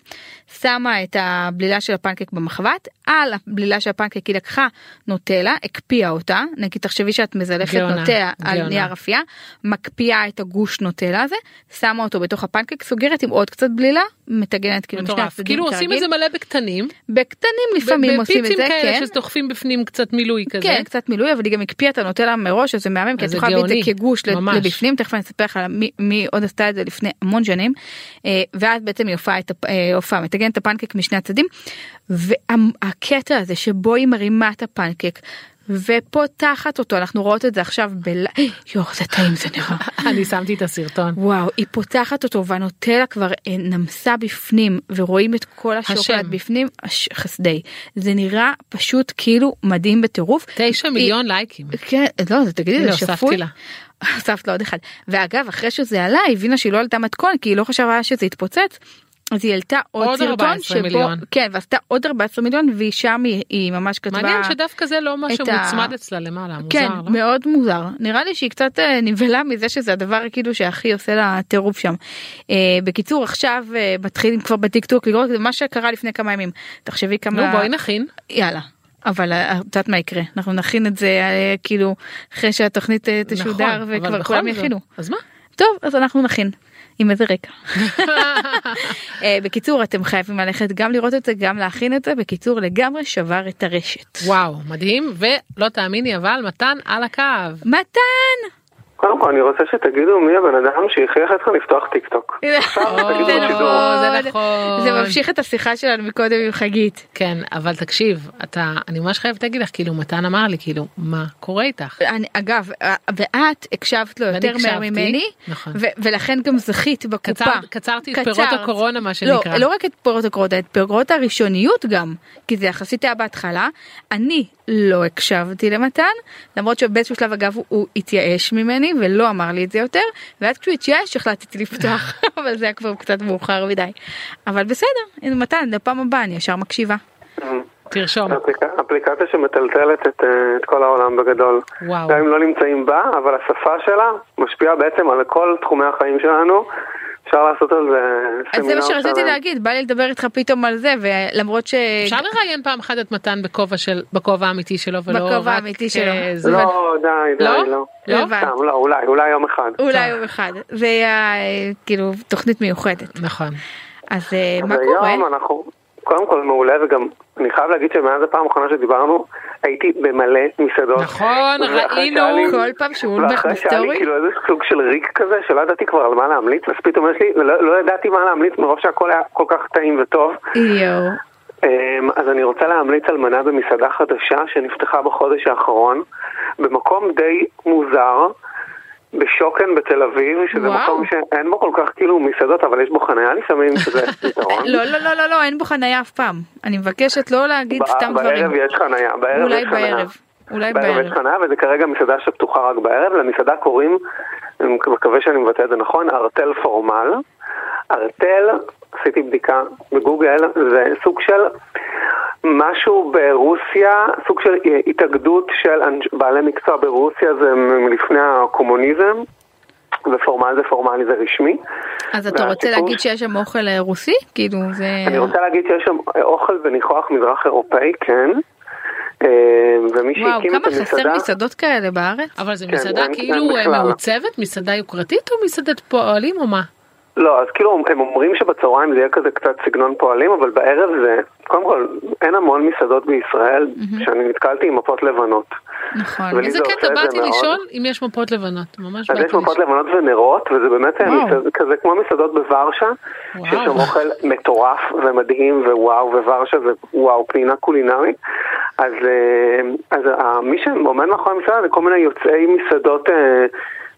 Speaker 3: שמה את הבלילה של הפנקק במחבת על הבלילה של הפנקק היא לקחה נוטלה הקפיאה אותה נגיד תחשבי שאת מזלפת
Speaker 2: גאונה,
Speaker 3: נוטלה על
Speaker 2: גאונה.
Speaker 3: נייר אפייה מקפיאה את הגוש נוטלה הזה שמה אותו בתוך הפנקק סוגרת עם עוד קצת בלילה מטגנת כאילו משני
Speaker 2: מטורף.
Speaker 3: הצדדים
Speaker 2: כאילו עושים
Speaker 3: כרגיל.
Speaker 2: את זה מלא בקטנים.
Speaker 3: בקטנים לפעמים עושים את
Speaker 2: בפיצים
Speaker 3: זה כן.
Speaker 2: כאלה שדוחפים בפנים קצת מילוי כזה.
Speaker 3: כן קצת מילוי אבל היא גם הקפיאה את הנוטלה מראש אז זה מהמם כי
Speaker 2: אז
Speaker 3: את
Speaker 2: זה
Speaker 3: יכולה להביא את זה
Speaker 2: גאוני,
Speaker 3: כגוש ל-
Speaker 2: ממש.
Speaker 3: לבפנים תכף אני אספר לך על מי, מי עוד עשתה את זה לפני המון שנים אה, ואז בעצם היא הופעה את הפ- אה, הופעה מטגנת את הפנקק משני הצדדים והקטע הזה שבו היא מרימה את הפנקק. ופותחת אותו אנחנו רואות את זה עכשיו בל... יואו זה טעים זה נראה.
Speaker 2: אני שמתי את הסרטון.
Speaker 3: וואו היא פותחת אותו והנוטלה כבר אה, נמסה בפנים ורואים את כל השוקולד
Speaker 2: השם.
Speaker 3: בפנים הש- חסדי זה נראה פשוט כאילו מדהים בטירוף.
Speaker 2: תשע
Speaker 3: היא-
Speaker 2: מיליון לייקים.
Speaker 3: כן, לא, זה תגידי,
Speaker 2: הנה,
Speaker 3: זה שפוי.
Speaker 2: הוספתי לה.
Speaker 3: הוספת לה עוד אחד. ואגב, אחרי שזה עלה, היא הבינה שהיא לא עלתה מתכון, כי היא לא חשבה שזה יתפוצץ. אז היא העלתה עוד,
Speaker 2: עוד
Speaker 3: סרטון
Speaker 2: 14 מיליון.
Speaker 3: כן, ועשתה עוד 14 מיליון, והיא שם, היא, היא ממש כתבה...
Speaker 2: מעניין שדווקא זה לא משהו
Speaker 3: את ה-
Speaker 2: מוצמד אצלה למעלה,
Speaker 3: כן,
Speaker 2: מוזר, לא?
Speaker 3: מאוד מוזר. נראה לי שהיא קצת אה, נבהלה מזה שזה הדבר כאילו שהכי עושה לה טירוף שם. אה, בקיצור, עכשיו אה, מתחילים כבר בטיקטוק לראות זה מה שקרה לפני כמה ימים. תחשבי כמה...
Speaker 2: נו, בואי נכין.
Speaker 3: יאללה. אבל אה, את יודעת מה יקרה אנחנו נכין את זה אה, כאילו אחרי שהתוכנית אה,
Speaker 2: נכון,
Speaker 3: תשודר
Speaker 2: אבל
Speaker 3: וכבר
Speaker 2: בכל
Speaker 3: כולם
Speaker 2: זאת.
Speaker 3: יכינו.
Speaker 2: אז מה?
Speaker 3: טוב אז אנחנו נכין עם איזה רקע. אה, בקיצור אתם חייבים ללכת גם לראות את זה גם להכין את זה בקיצור לגמרי שבר את הרשת.
Speaker 2: וואו, מדהים, ולא תאמיני, אבל מתן על הקו.
Speaker 3: מתן!
Speaker 5: קודם כל, אני רוצה שתגידו מי הבן אדם שהכריח אתכם לפתוח טיקטוק.
Speaker 3: זה
Speaker 2: נכון, זה נכון.
Speaker 3: זה ממשיך את השיחה שלנו מקודם עם חגית.
Speaker 2: כן, אבל תקשיב, אתה, אני ממש חייבת להגיד לך, כאילו, מתן אמר לי, כאילו, מה קורה איתך?
Speaker 3: אני, אגב, אה, ואת הקשבת לו
Speaker 2: ואני
Speaker 3: יותר מהר
Speaker 2: הקשבתי,
Speaker 3: ממני,
Speaker 2: נכון.
Speaker 3: ו- ולכן גם זכית בקופה.
Speaker 2: קצר- קצרתי את פירות
Speaker 3: קצרת.
Speaker 2: הקורונה, מה
Speaker 3: לא,
Speaker 2: שנקרא.
Speaker 3: לא רק את פירות הקורונה, את פירות הראשוניות גם, כי זה יחסית היה בהתחלה. אני לא הקשבתי למתן, למרות שבאיזשהו שלב אגב הוא, הוא התייאש ממני ולא אמר לי את זה יותר, ואז כשהוא התייאש החלטתי לפתוח, אבל זה היה כבר קצת מאוחר מדי. אבל בסדר, הנה מתן, לפעם הבאה אני ישר מקשיבה.
Speaker 2: תרשום.
Speaker 5: אפליקציה- אפליקציה שמטלטלת את, אה, את כל העולם בגדול.
Speaker 2: וואו.
Speaker 5: גם אם לא נמצאים בה, אבל השפה שלה משפיעה בעצם על כל תחומי החיים שלנו. אפשר לעשות על זה
Speaker 3: אז זה
Speaker 5: סמינר
Speaker 3: מה שרציתי
Speaker 5: שלם.
Speaker 3: להגיד, בא לי לדבר איתך פתאום על זה, ולמרות ש...
Speaker 2: אפשר לראיין פעם אחת את מתן בכובע של, בכובע האמיתי שלו, ולא
Speaker 3: בכובע
Speaker 2: רק,
Speaker 3: האמיתי
Speaker 2: אה,
Speaker 3: שלו.
Speaker 2: זה.
Speaker 5: לא, די, די,
Speaker 2: לא?
Speaker 5: לא.
Speaker 2: לא?
Speaker 3: הבנתי.
Speaker 5: סתם, לא, אולי, אולי יום אחד.
Speaker 3: אולי
Speaker 5: כן.
Speaker 3: יום אחד. זה היה אה, כאילו תוכנית מיוחדת.
Speaker 2: נכון.
Speaker 3: אז אה, מה
Speaker 5: אז
Speaker 3: קורה?
Speaker 5: היום אנחנו, קודם כל מעולה, וגם אני חייב להגיד שמאז הפעם האחרונה שדיברנו, הייתי במלא מסעדות.
Speaker 2: נכון,
Speaker 5: ואחרי
Speaker 2: ראינו.
Speaker 5: שהיה לי-
Speaker 3: כל פעם שהוא הולך
Speaker 5: ואחרי שהיה לי
Speaker 3: בסטורי?
Speaker 5: כאילו איזה סוג של ריק כזה, שלא ידעתי כבר על מה להמליץ, אז פתאום יש לי, לא, לא ידעתי מה להמליץ מרוב שהכל היה כל כך טעים וטוב.
Speaker 3: יואו.
Speaker 5: אמ, אז אני רוצה להמליץ על מנה במסעדה חדשה שנפתחה בחודש האחרון, במקום די מוזר, בש... שוקן בתל אביב, שזה
Speaker 3: וואו.
Speaker 5: מקום שאין בו כל כך כאילו מסעדות, אבל יש בו חניה לפעמים, שזה פתרון.
Speaker 3: לא, לא, לא, לא, לא, אין בו חנייה אף פעם. אני מבקשת לא להגיד
Speaker 5: ב-
Speaker 3: סתם דברים.
Speaker 5: בערב יש חניה, בערב
Speaker 3: אולי
Speaker 5: יש חניה.
Speaker 3: בערב. אולי
Speaker 5: בערב יש
Speaker 3: בערב.
Speaker 5: חניה, וזה כרגע מסעדה שפתוחה רק בערב, למסעדה קוראים, אני מקווה שאני מבטא את זה נכון, ארטל פורמל. ארטל, עשיתי בדיקה בגוגל, זה סוג של משהו ברוסיה, סוג של התאגדות של אנש- בעלי מקצוע ברוסיה, זה מ- מלפני הקומוניזם, ופורמל זה פורמלי, זה רשמי.
Speaker 3: אז אתה רוצה
Speaker 5: והסיפור
Speaker 3: להגיד שיש שם אוכל אה, רוסי? כאילו זה...
Speaker 5: אני רוצה להגיד שיש שם אוכל וניחוח מזרח אירופאי, כן. אה, ומי
Speaker 3: וואו,
Speaker 5: שהקים את
Speaker 3: כמה חסר
Speaker 5: המסעדה...
Speaker 3: מסעדות כאלה בארץ?
Speaker 2: אבל זה
Speaker 5: כן,
Speaker 2: מסעדה
Speaker 5: אין- אין
Speaker 2: כאילו אה,
Speaker 5: בכלל.
Speaker 2: מעוצבת, מסעדה יוקרתית או מסעדת פועלים או מה?
Speaker 5: לא, אז כאילו הם אומרים שבצהריים זה יהיה כזה קצת סגנון פועלים, אבל בערב זה, קודם כל, אין המון מסעדות בישראל שאני נתקלתי עם מפות לבנות.
Speaker 3: נכון.
Speaker 5: ולי
Speaker 2: איזה
Speaker 5: זה
Speaker 2: קטע,
Speaker 5: עושה את זה
Speaker 2: באתי
Speaker 5: מאוד.
Speaker 2: לשאול אם יש מפות לבנות, ממש
Speaker 5: אז
Speaker 2: באתי
Speaker 5: יש מפות
Speaker 2: לשאול.
Speaker 5: לבנות ונרות, וזה באמת
Speaker 3: וואו.
Speaker 5: מסעד- כזה כמו מסעדות בוורשה,
Speaker 2: וואו.
Speaker 5: שיש שם אוכל מטורף ומדהים, ווואו, וורשה זה וואו, פנינה קולינרית. אז, אה, אז ה- מי שעומד מאחורי המסעדה זה כל מיני יוצאי מסעדות אה,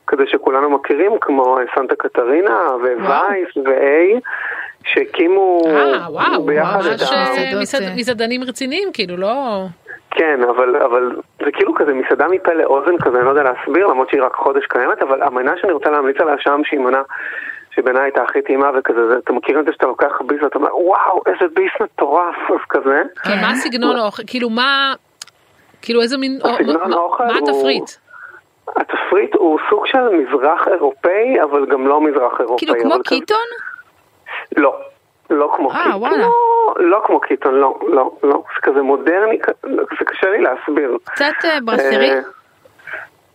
Speaker 5: כזה שכולנו מכירים, כמו אה, סנטה קטרינה, ווייס, ואיי, שהקימו
Speaker 2: אה, וואו,
Speaker 5: ביחד
Speaker 2: ממש
Speaker 5: את ה...
Speaker 2: אה,
Speaker 3: מסעדות,
Speaker 2: מסעד-
Speaker 3: אה.
Speaker 2: מסעדנים רציניים, כאילו, לא...
Speaker 5: כן, אבל, אבל זה כאילו כזה מסעדה מפה לאוזן כזה, אני לא יודע להסביר, למרות שהיא רק חודש קיימת, אבל המנה שאני רוצה להמליץ עליה שם, שהיא מנה שבעיניי הייתה הכי טעימה וכזה, זה- אתה מכיר את זה שאתה לוקח ביס ואתה אומר, וואו, איזה ביס מטורף, אז כזה.
Speaker 2: אבל מה סגנון האוכל? כאילו, מה... כאילו, איזה מין...
Speaker 5: הסגנון
Speaker 2: מה- מה-
Speaker 5: האוכל
Speaker 2: מה
Speaker 5: הוא-
Speaker 2: התפריט?
Speaker 5: התפריט הוא סוג של מזרח אירופאי, אבל גם לא מזרח אירופאי.
Speaker 3: כאילו כמו
Speaker 5: אבל כזה-
Speaker 3: קיטון?
Speaker 5: לא. לא כמו
Speaker 3: אה,
Speaker 5: קיטון,
Speaker 3: וואלה.
Speaker 5: לא, לא כמו קיטון, לא, לא, לא, זה כזה מודרני, כ- זה קשה לי להסביר.
Speaker 3: קצת אה, ברסרי?
Speaker 5: אה,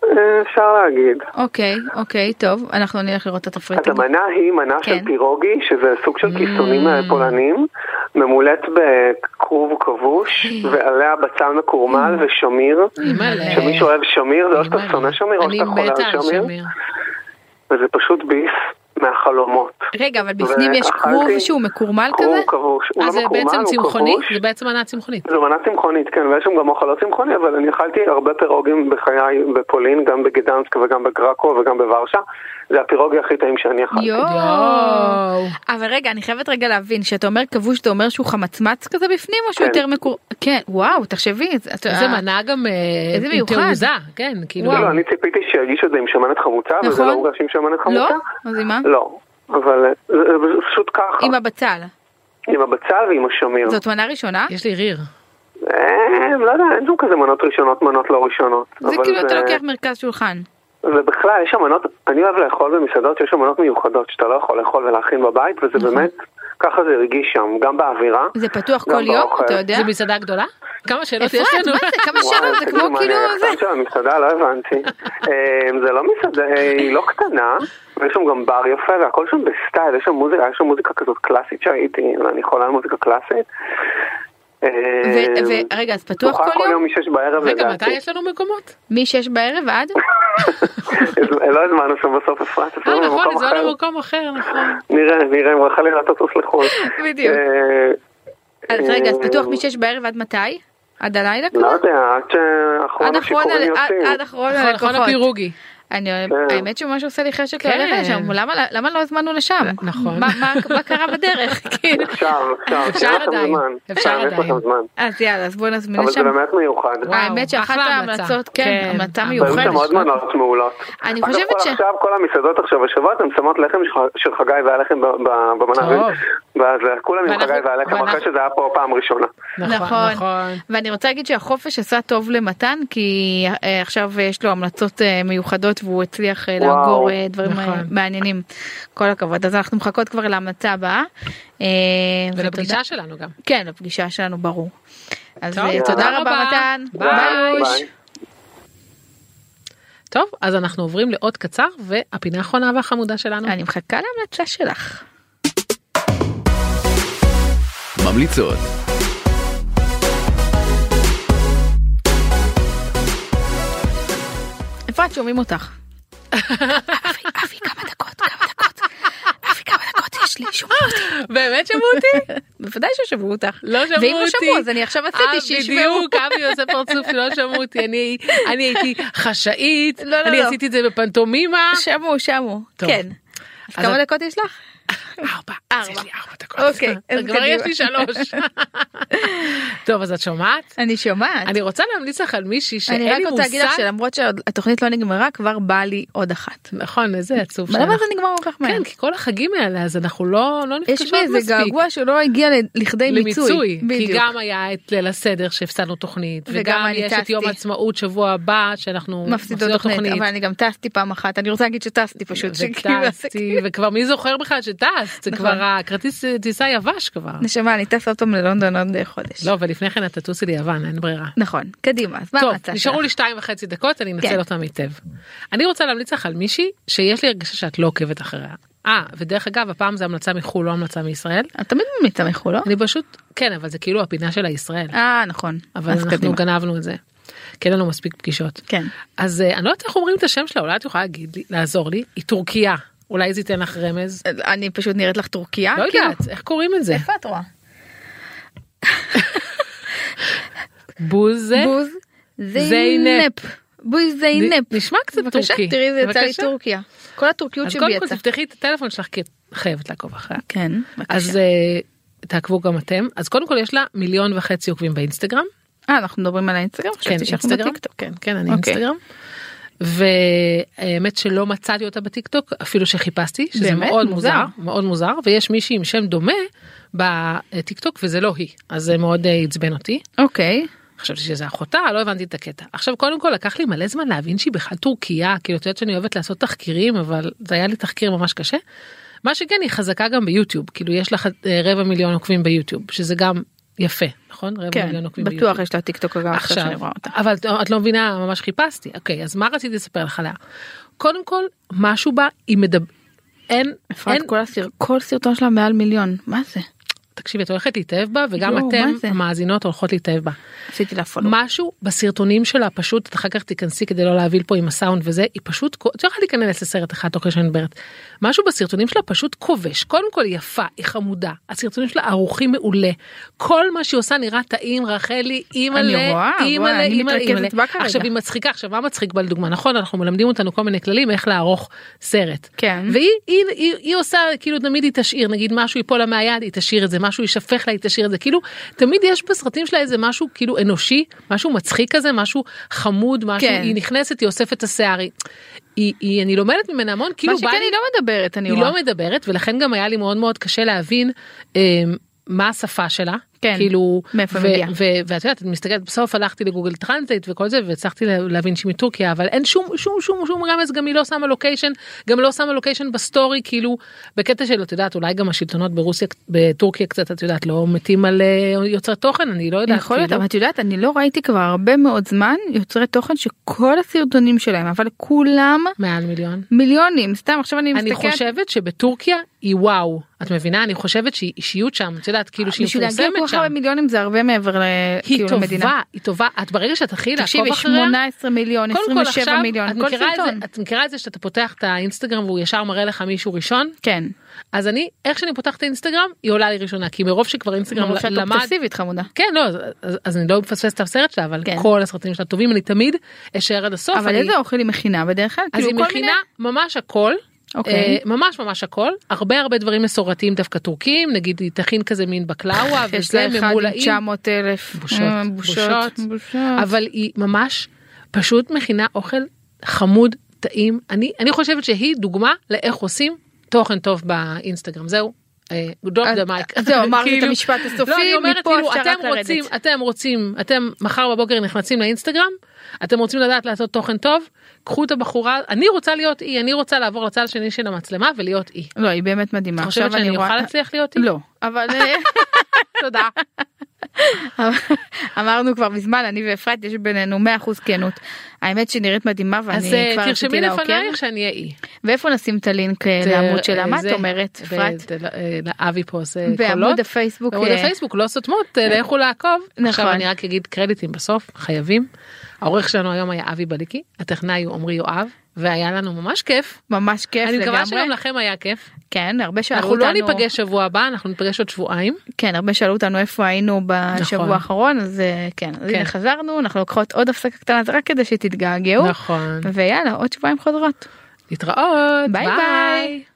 Speaker 5: אה, אפשר להגיד.
Speaker 3: אוקיי, אוקיי, טוב, אנחנו נלך לראות את
Speaker 5: אז
Speaker 3: התפריטים.
Speaker 5: המנה היא מנה
Speaker 3: כן.
Speaker 5: של פירוגי, שזה סוג של כיסונים אה, פולנים, ממולאת בכרוב כבוש, ועליה בצל מקורמל ושמיר.
Speaker 2: אימא'לה.
Speaker 5: שמישהו אוהב שמיר, זה או לא שאתה
Speaker 2: אימא'לה.
Speaker 5: שונא שמיר או
Speaker 2: אני
Speaker 5: שאתה חולה
Speaker 2: מתה
Speaker 5: על שמיר, וזה פשוט ביס מהחלומות.
Speaker 3: רגע, אבל בפנים יש
Speaker 5: ואכלתי-
Speaker 3: כרוב שהוא מקורמל
Speaker 5: כרוב
Speaker 3: כזה?
Speaker 5: כבוש, הוא
Speaker 2: אה,
Speaker 5: לא
Speaker 2: זה
Speaker 5: מקורמל,
Speaker 2: בעצם
Speaker 5: הוא
Speaker 2: צמחוני?
Speaker 5: כבוש.
Speaker 2: זה בעצם מנה צמחונית.
Speaker 5: זו מנה צמחונית, כן, ויש שם גם אוכל לא צמחוני, אבל אני אכלתי הרבה פירוגים בחיי בפולין, גם בגדנסק וגם בגרקו וגם בוורשה. זה הפירוגי הכי טעים שאני אכלתי.
Speaker 3: יואו.
Speaker 2: יואו.
Speaker 3: אבל רגע, אני חייבת רגע להבין, כשאתה אומר כבוש, אתה אומר שהוא חמצמץ כזה בפנים או שהוא
Speaker 5: כן.
Speaker 3: יותר מקור... כן, וואו, תחשבי. זה- אתה-
Speaker 2: איזה מנה גם אה,
Speaker 3: איזה
Speaker 2: עם
Speaker 3: מיוחד.
Speaker 2: תעוזה, כן, כאילו.
Speaker 5: לא, לא, אני ציפיתי שיגישו את זה עם שמנת חמוצה, אבל זה
Speaker 3: נכון.
Speaker 5: לא הוגש עם שמנת
Speaker 3: לא?
Speaker 5: חמוצה.
Speaker 3: אז עם מה?
Speaker 5: לא, אבל אה, זה זה פשוט ככה,
Speaker 3: עם הבצל.
Speaker 5: עם הבצל ועם השמיר.
Speaker 3: זאת מנה ראשונה?
Speaker 2: יש לי ריר.
Speaker 5: אה, לא יודע, אין שם כזה מנות ראשונות, מנות לא ראשונות.
Speaker 3: זה
Speaker 5: אבל
Speaker 3: כאילו אתה לוקח מרכז שולחן.
Speaker 5: ובכלל, יש שם מנות, אני אוהב לאכול במסעדות שיש שם מנות מיוחדות שאתה לא יכול לאכול ולהכין בבית, וזה באמת, ככה זה הרגיש שם, גם באווירה.
Speaker 3: נכון. זה פתוח
Speaker 5: גם
Speaker 3: כל יום,
Speaker 5: באוכל.
Speaker 3: אתה יודע?
Speaker 2: זה מסעדה גדולה? כמה שאלות יש
Speaker 3: אפרת,
Speaker 2: לנו?
Speaker 3: מה זה? כמה
Speaker 5: וואו,
Speaker 3: שאלות? זה
Speaker 5: תגידי,
Speaker 3: כמו
Speaker 5: מה,
Speaker 3: כאילו...
Speaker 5: אני
Speaker 3: זה-
Speaker 5: הקטן של המסעדה, לא הבנתי. אה, זה לא מסעדה, אה, היא לא קטנה, ויש שם גם בר יפה, והכל שם בסטייל, יש שם מוזיקה, יש שם מוזיקה כזאת קלאסית שהייתי, ואני חולה על מוזיקה קלאסית. אה,
Speaker 3: ו- ו- רגע, אז פתוח
Speaker 5: פתוחה
Speaker 3: כל יום?
Speaker 5: משש בערב
Speaker 2: רגע,
Speaker 5: לדעתי.
Speaker 2: מתי יש לנו מקומות?
Speaker 3: משש בערב עד?
Speaker 5: לא הזמנו שם בסוף אפרת,
Speaker 2: אה,
Speaker 5: עשינו
Speaker 2: נכון,
Speaker 5: במקום
Speaker 3: לא
Speaker 2: זה
Speaker 5: לא, אחר.
Speaker 2: היה למקום אחר, נכון.
Speaker 5: נראה, נראה, אם רחלי לא תטוס לחו"ל.
Speaker 3: בדיוק.
Speaker 5: אה,
Speaker 3: אז רגע, אז
Speaker 5: אה,
Speaker 3: פתוח משש בערב עד מתי? עד הלילה
Speaker 5: לא
Speaker 3: כבר?
Speaker 5: יודע, עד שאחרון
Speaker 3: עד אחרון ה-
Speaker 5: השיכורים
Speaker 3: עד-
Speaker 5: יוצאים.
Speaker 3: עד אחרון
Speaker 2: נכון, נכון,
Speaker 3: הלקוחות.
Speaker 2: הפירוגי.
Speaker 3: אני,
Speaker 5: כן.
Speaker 3: האמת שהוא ממש עושה לי חשק
Speaker 2: כן.
Speaker 3: ללכת לשם, למה, למה לא הזמנו לשם?
Speaker 2: נכון.
Speaker 3: מה, מה, מה קרה בדרך? כאילו.
Speaker 5: אפשר, אפשר,
Speaker 2: אפשר
Speaker 5: יש לכם
Speaker 2: עדיין,
Speaker 5: זמן.
Speaker 2: אפשר
Speaker 5: אה, יש לכם
Speaker 2: עדיין.
Speaker 5: זמן.
Speaker 3: אז יאללה, אז בוא נזמין
Speaker 5: אבל זה
Speaker 3: לשם.
Speaker 5: באמת מיוחד.
Speaker 2: וואו,
Speaker 3: האמת שאחת
Speaker 2: אחלה
Speaker 3: ההמלצות,
Speaker 2: המלצה.
Speaker 3: כן,
Speaker 2: כן.
Speaker 3: המלצה
Speaker 2: אבל
Speaker 5: היו
Speaker 3: מיוחדת.
Speaker 5: שם עוד מנות מעולות.
Speaker 3: אני
Speaker 5: אגב,
Speaker 3: חושבת
Speaker 5: כל
Speaker 3: ש-
Speaker 5: עכשיו כל המסעדות עכשיו השבועות, הם שמות לחם של- של חגי והיה לחם ב- ב- במנה.
Speaker 2: טוב.
Speaker 5: ואז אה, כולם עם
Speaker 2: ואנחנו-
Speaker 5: חגי והיה לחם, אחרי
Speaker 2: ואנחנו-
Speaker 5: שזה היה פה פעם ראשונה.
Speaker 2: נכון, נכון.
Speaker 3: ואני רוצה להגיד שהחופש עשה טוב למתן, כי אה, עכשיו יש לו המלצות אה, מיוחדות והוא הצליח אה,
Speaker 5: וואו.
Speaker 3: לאגור אה, דברים אה,
Speaker 2: נכון.
Speaker 3: מעניינים. כל הכבוד. אז אנחנו מחכות כבר להמלצה הבאה. אה, ותודה-
Speaker 2: ולפגישה שלנו גם.
Speaker 3: כן, לפגישה שלנו, ברור. אז
Speaker 2: טוב,
Speaker 3: אה, תודה רבה, מתן.
Speaker 2: ביי.
Speaker 5: ביי.
Speaker 2: טוב, אז אנחנו עוברים לעוד קצר, והפינה האחרונה והחמודה שלנו.
Speaker 3: אני מחכה להמלצה שלך.
Speaker 4: ממליצות.
Speaker 3: אפרת, שומעים אותך. אבי, אבי, כמה דקות, כמה דקות. אבי, כמה דקות יש לי, שומעים אותי.
Speaker 2: באמת שמעו אותי?
Speaker 3: בוודאי ששמעו אותך.
Speaker 2: לא שמעו אותי. אה,
Speaker 3: ואם לא אה, שמעו אז אני עכשיו עשיתי שישמעו.
Speaker 2: בדיוק, אבי עושה פרצוף שלא שמעו אותי, אני אני הייתי חשאית,
Speaker 3: לא, לא,
Speaker 2: אני
Speaker 3: לא.
Speaker 2: עשיתי את זה בפנטומימה.
Speaker 3: שמעו, שמעו.
Speaker 2: טוב.
Speaker 3: כן. אז
Speaker 2: אז
Speaker 3: כמה
Speaker 2: את-
Speaker 3: דקות יש לך?
Speaker 2: ארבע, אז יש לי ארבע דקות.
Speaker 3: אוקיי, אז
Speaker 2: כבר יש לי
Speaker 3: קדימה.
Speaker 2: שלוש. טוב, אז את שומעת?
Speaker 3: אני שומעת.
Speaker 2: אני רוצה להמליץ לך על מישהי שאין לי
Speaker 3: אני
Speaker 2: מושג.
Speaker 3: רק רוצה להגיד לך שלמרות שהתוכנית לא נגמרה כבר באה לי עוד אחת.
Speaker 2: נכון, איזה עצוב
Speaker 3: למה
Speaker 2: שאנחנו-
Speaker 3: זה נגמר כל כך מהר?
Speaker 2: כן, כי כל החגים האלה אז אנחנו לא לא
Speaker 3: יש
Speaker 2: נפגשות
Speaker 3: לי איזה
Speaker 2: מספיק.
Speaker 3: געגוע שלא הגיע ל- לכדי מיצוי.
Speaker 2: למיצוי, כי
Speaker 3: בדיוק.
Speaker 2: גם היה את ליל הסדר שהפסדנו תוכנית,
Speaker 3: וגם
Speaker 2: וגם
Speaker 3: אני
Speaker 2: יש את
Speaker 3: טסתי.
Speaker 2: יום העצמאות שבוע הבא שאנחנו
Speaker 3: מפסידות תוכנית, אבל אני גם טסתי פעם אחת, אני רוצה להגיד שטסתי פשוט, שכאילו זה
Speaker 2: וטסתי, וכבר מי זוכר בכלל שטסת, זה
Speaker 3: נכון.
Speaker 2: כבר הכרטיס אה, טיסה יבש כבר.
Speaker 3: נשמה, אני טסה עוד פעם ללונדון עוד אה, חודש.
Speaker 2: נכון. לא, ולפני כן את תטוסי ליוון, אין ברירה.
Speaker 3: נכון, קדימה, אז מה
Speaker 2: טוב,
Speaker 3: המצאת?
Speaker 2: נשארו לי שתיים וחצי דקות, אני
Speaker 3: כן.
Speaker 2: אנצל אותם היטב. אני רוצה להמליץ לך על מישהי שיש לי הרגשה שאת לא עוקבת אחריה. אה, ודרך אגב, הפעם זו המלצה מחו"ל, לא המלצה מישראל.
Speaker 3: את תמיד ממליצה מחו"ל, לא?
Speaker 2: אני פשוט, כן, אבל זה כאילו הפינה של הישראל.
Speaker 3: אה, נכון.
Speaker 2: אבל
Speaker 3: אז
Speaker 2: אנחנו
Speaker 3: קדימה.
Speaker 2: גנבנו את זה. כי אין לנו מספיק פגישות.
Speaker 3: כן.
Speaker 2: אז אה, אני לא יודעת איך אומרים את השם שלה, אולי את יכולה להגיד לי, לעזור לי, היא טורקיה. אולי זה ייתן לך רמז.
Speaker 3: אני פשוט נראית לך טורקיה?
Speaker 2: לא
Speaker 3: כאילו?
Speaker 2: יודעת, איך קוראים את זה?
Speaker 3: איפה את רואה?
Speaker 2: בוזה?
Speaker 3: בוז
Speaker 2: זיינפ.
Speaker 3: זיינפ. בוז זיינפ.
Speaker 2: נ- נשמע קצת
Speaker 3: בבקשה,
Speaker 2: טורקי.
Speaker 3: תראי, זה יצא לי
Speaker 2: בבקשה.
Speaker 3: טורקיה. כל הטורקיות
Speaker 2: אז
Speaker 3: שבי
Speaker 2: קודם כל
Speaker 3: יצא.
Speaker 2: תפתחי את הטלפון שלך, כי את חייבת לעקוב אחריה.
Speaker 3: כן,
Speaker 2: אז
Speaker 3: בבקשה.
Speaker 2: אה, תעקבו גם אתם. אז קודם כל יש לה מיליון וחצי עוקבים באינסטגרם.
Speaker 3: אה, אנחנו מדברים על האינסטגרם?
Speaker 2: כן,
Speaker 3: חשבתי שאנחנו
Speaker 2: אינסטגרם.
Speaker 3: בטיקטוק, כן.
Speaker 2: כן, אני
Speaker 3: אוקיי.
Speaker 2: אינסטגרם. והאמת שלא מצאתי אותה בטיקטוק אפילו שחיפשתי שזה
Speaker 3: באמת?
Speaker 2: מאוד
Speaker 3: מוזר.
Speaker 2: מוזר מאוד מוזר ויש מישהי עם שם דומה בטיקטוק וזה לא היא אז זה מאוד אה, עצבן אותי
Speaker 3: אוקיי.
Speaker 2: חשבתי שזה אחותה לא הבנתי את הקטע עכשיו קודם כל לקח לי מלא זמן להבין שהיא בכלל טורקיה כאילו את יודעת שאני אוהבת לעשות תחקירים אבל זה היה לי תחקיר ממש קשה. מה שכן היא חזקה גם ביוטיוב כאילו יש לך אה, רבע מיליון עוקבים ביוטיוב שזה גם יפה נכון רבע
Speaker 3: כן,
Speaker 2: מיליון עוקבים ביוטיוב.
Speaker 3: בטוח יש לה טיקטוק גם עכשיו שאני רואה אותה.
Speaker 2: אבל את- את לא מבינה ממש חיפשתי אוקיי אז מה רציתי לספר לך עליה. קודם כל משהו בה היא מדבר. אין,
Speaker 3: אפרת,
Speaker 2: אין,
Speaker 3: כל הסר- כל סרטון שלה מעל מיליון, מה זה?
Speaker 2: תקשיבי את הולכת להתאהב בה וגם
Speaker 3: יואו,
Speaker 2: אתם
Speaker 3: מה זה?
Speaker 2: המאזינות הולכות להתאהב בה.
Speaker 3: עשיתי לה פולו.
Speaker 2: משהו בסרטונים שלה פשוט את אחר כך תיכנסי כדי לא להבהיל פה עם הסאונד וזה היא פשוט את לא יכולה להיכנס לסרט אחד תוך שאני מדברת. משהו בסרטונים שלה פשוט כובש קודם כל היא יפה היא חמודה הסרטונים שלה ערוכים מעולה כל מה שהיא עושה נראה טעים רחלי
Speaker 3: אני רואה,
Speaker 2: אימא'לה
Speaker 3: וואי,
Speaker 2: אימא'לה
Speaker 3: אני
Speaker 2: אימא'לה
Speaker 3: מתרכזת
Speaker 2: אימא'לה
Speaker 3: בה כרגע.
Speaker 2: עכשיו היא מצחיקה עכשיו מה מצחיק בה לדוגמה נכון אנחנו מלמדים אותנו כל מיני כללים איך לערוך סרט
Speaker 3: כן.
Speaker 2: והיא היא, היא, היא עושה כאילו תמיד היא תשאיר נגיד משהו ייפול לה מהיד היא תשאיר את זה משהו יישפך לה היא תשאיר את זה כאילו תמיד יש בסרטים שלה איזה משהו כאילו אנושי משהו מצחיק כזה משהו חמוד משהו
Speaker 3: כן.
Speaker 2: היא נכנסת היא אוספת את השיער היא, היא, היא אני לומדת ממנה המון כאילו
Speaker 3: מה שכן
Speaker 2: בא לי-
Speaker 3: היא לא מדברת, אני
Speaker 2: היא
Speaker 3: רואה.
Speaker 2: לא מדברת ולכן גם היה לי מאוד מאוד קשה להבין אה, מה השפה שלה.
Speaker 3: כן,
Speaker 2: כאילו,
Speaker 3: מאיפה
Speaker 2: ו-
Speaker 3: מגיעה.
Speaker 2: ו- ואת יודעת, את מסתכלת, בסוף הלכתי לגוגל טרנסלייט וכל זה, והצלחתי לה- להבין שהיא מטורקיה, אבל אין שום, שום, שום, שום רמז, גם היא לא שמה לוקיישן, גם לא שמה לוקיישן בסטורי, כאילו, בקטע של, את יודעת, אולי גם השלטונות ברוסיה, בטורקיה קצת, את יודעת, לא מתים על אה, יוצרי תוכן, אני לא יודעת,
Speaker 3: יכול להיות,
Speaker 2: כאילו.
Speaker 3: אבל את יודעת, אני לא ראיתי כבר הרבה מאוד זמן יוצרי תוכן שכל הסרטונים שלהם, אבל כולם
Speaker 2: מעל מיליון.
Speaker 3: מיליונים, סתם, עכשיו אני
Speaker 2: אני
Speaker 3: מסתכלת.
Speaker 2: חושבת שבטורקיה היא וואו, את מבינה? אני חושבת שהיא אישיות שם, את יודעת, כאילו שהיא
Speaker 3: בשביל להגיע
Speaker 2: מפורסמת
Speaker 3: כל כך
Speaker 2: שם.
Speaker 3: הרבה מיליונים זה הרבה מעבר ל-
Speaker 2: היא
Speaker 3: כאילו, למדינה.
Speaker 2: טובה, היא טובה, את ברגע שאת הכי לעקוב
Speaker 3: תקשיבי,
Speaker 2: אחריה,
Speaker 3: 18 מיליון,
Speaker 2: קודם כל עכשיו,
Speaker 3: 27 מיליון,
Speaker 2: את
Speaker 3: כל
Speaker 2: מכירה את זה-
Speaker 3: סרטון.
Speaker 2: את מכירה את זה שאתה פותח את האינסטגרם והוא ישר מראה לך מישהו ראשון?
Speaker 3: כן,
Speaker 2: אז אני, איך שאני פותחת את האינסטגרם, היא עולה לי ראשונה, כי מרוב שכבר אינסטגרם
Speaker 3: גם שאת
Speaker 2: לא, למד...
Speaker 3: אובססיבית חמודה.
Speaker 2: כן, לא, אז, אז, אז אני לא מפספסת את הסרט שלה, אבל
Speaker 3: כן.
Speaker 2: כל הסרטים שלה טובים, אני תמיד אשאר עד הסוף.
Speaker 3: אבל
Speaker 2: אני-
Speaker 3: איזה אוכל היא מכינה בדרך כלל?
Speaker 2: לא, אז
Speaker 3: כאילו,
Speaker 2: היא
Speaker 3: כל
Speaker 2: מכינה ממש הכל.
Speaker 3: אוקיי.
Speaker 2: אה, ממש ממש הכל הרבה הרבה דברים מסורתיים דווקא טורקים נגיד היא תכין כזה מין בקלאווה
Speaker 3: מיני- יש
Speaker 2: וזה
Speaker 3: לה אחד עם
Speaker 2: ממולאים
Speaker 3: 900 אלף.
Speaker 2: בושות,
Speaker 3: אה,
Speaker 2: בושות.
Speaker 3: בושות. בושות.
Speaker 2: אבל היא ממש פשוט מכינה אוכל חמוד טעים אני אני חושבת שהיא דוגמה לאיך עושים תוכן טוב באינסטגרם זהו. אה, drop
Speaker 3: אז-
Speaker 2: the mic.
Speaker 3: אז זהו, אמרתי את
Speaker 2: כאילו-
Speaker 3: המשפט הסופי,
Speaker 2: לא, אני אומרת,
Speaker 3: מפה
Speaker 2: כאילו,
Speaker 3: אפשר
Speaker 2: אתם
Speaker 3: רק לרדת.
Speaker 2: רוצים, אתם רוצים, אתם מחר בבוקר נכנסים לאינסטגרם, אתם רוצים לדעת לעשות תוכן טוב, קחו את הבחורה, אני רוצה להיות אי, אני רוצה לעבור לצד השני של המצלמה ולהיות אי.
Speaker 3: לא, היא באמת מדהימה.
Speaker 2: את חושבת
Speaker 3: עכשיו אני
Speaker 2: שאני
Speaker 3: רואה-
Speaker 2: אוכל להצליח להיות אי?
Speaker 3: לא, אבל אה,
Speaker 2: תודה.
Speaker 3: אמרנו כבר מזמן, אני ואפרת יש בינינו 100% כנות. האמת שהיא נראית מדהימה
Speaker 2: אז
Speaker 3: ואני
Speaker 2: אה,
Speaker 3: כבר רציתי
Speaker 2: תרשמי
Speaker 3: לה עוקר.
Speaker 2: לפנייך שאני אהיה אי.
Speaker 3: ואיפה נשים את הלינק אה, לעמוד שלה? מה את
Speaker 2: זה,
Speaker 3: אומרת, אפרת?
Speaker 2: ב- ב- אבי לא, אה, פה עושה קולות.
Speaker 3: בעמוד הפייסבוק.
Speaker 2: בעמוד
Speaker 3: אה,
Speaker 2: הפייסבוק לא סותמות, אה, לכו לעקוב.
Speaker 3: נכון.
Speaker 2: עכשיו אני רק אגיד קרדיטים בסוף, חייבים. העורך שלנו היום היה אבי בליקי, הטכנאי הוא עמרי יואב, והיה לנו ממש כיף.
Speaker 3: ממש כיף
Speaker 2: אני
Speaker 3: לגמרי.
Speaker 2: מקווה שגם לכם היה כיף.
Speaker 3: כן, הרבה שאלו
Speaker 2: אנחנו
Speaker 3: אותנו...
Speaker 2: לא ניפגש שבוע הבא, אנחנו ניפגש עוד שבועיים.
Speaker 3: כן, הרבה שאלו אותנו איפה היינו בשבוע
Speaker 2: נכון.
Speaker 3: האחרון, אז אה, כן, אז
Speaker 2: כן.
Speaker 3: הנה חזרנו, אנחנו לוקחות עוד הפסקה קטנה, זה רק כדי שתתגעגעו.
Speaker 2: נכון.
Speaker 3: ויאללה, עוד שבועיים חוזרות.
Speaker 2: להתראות.
Speaker 3: ביי ביי.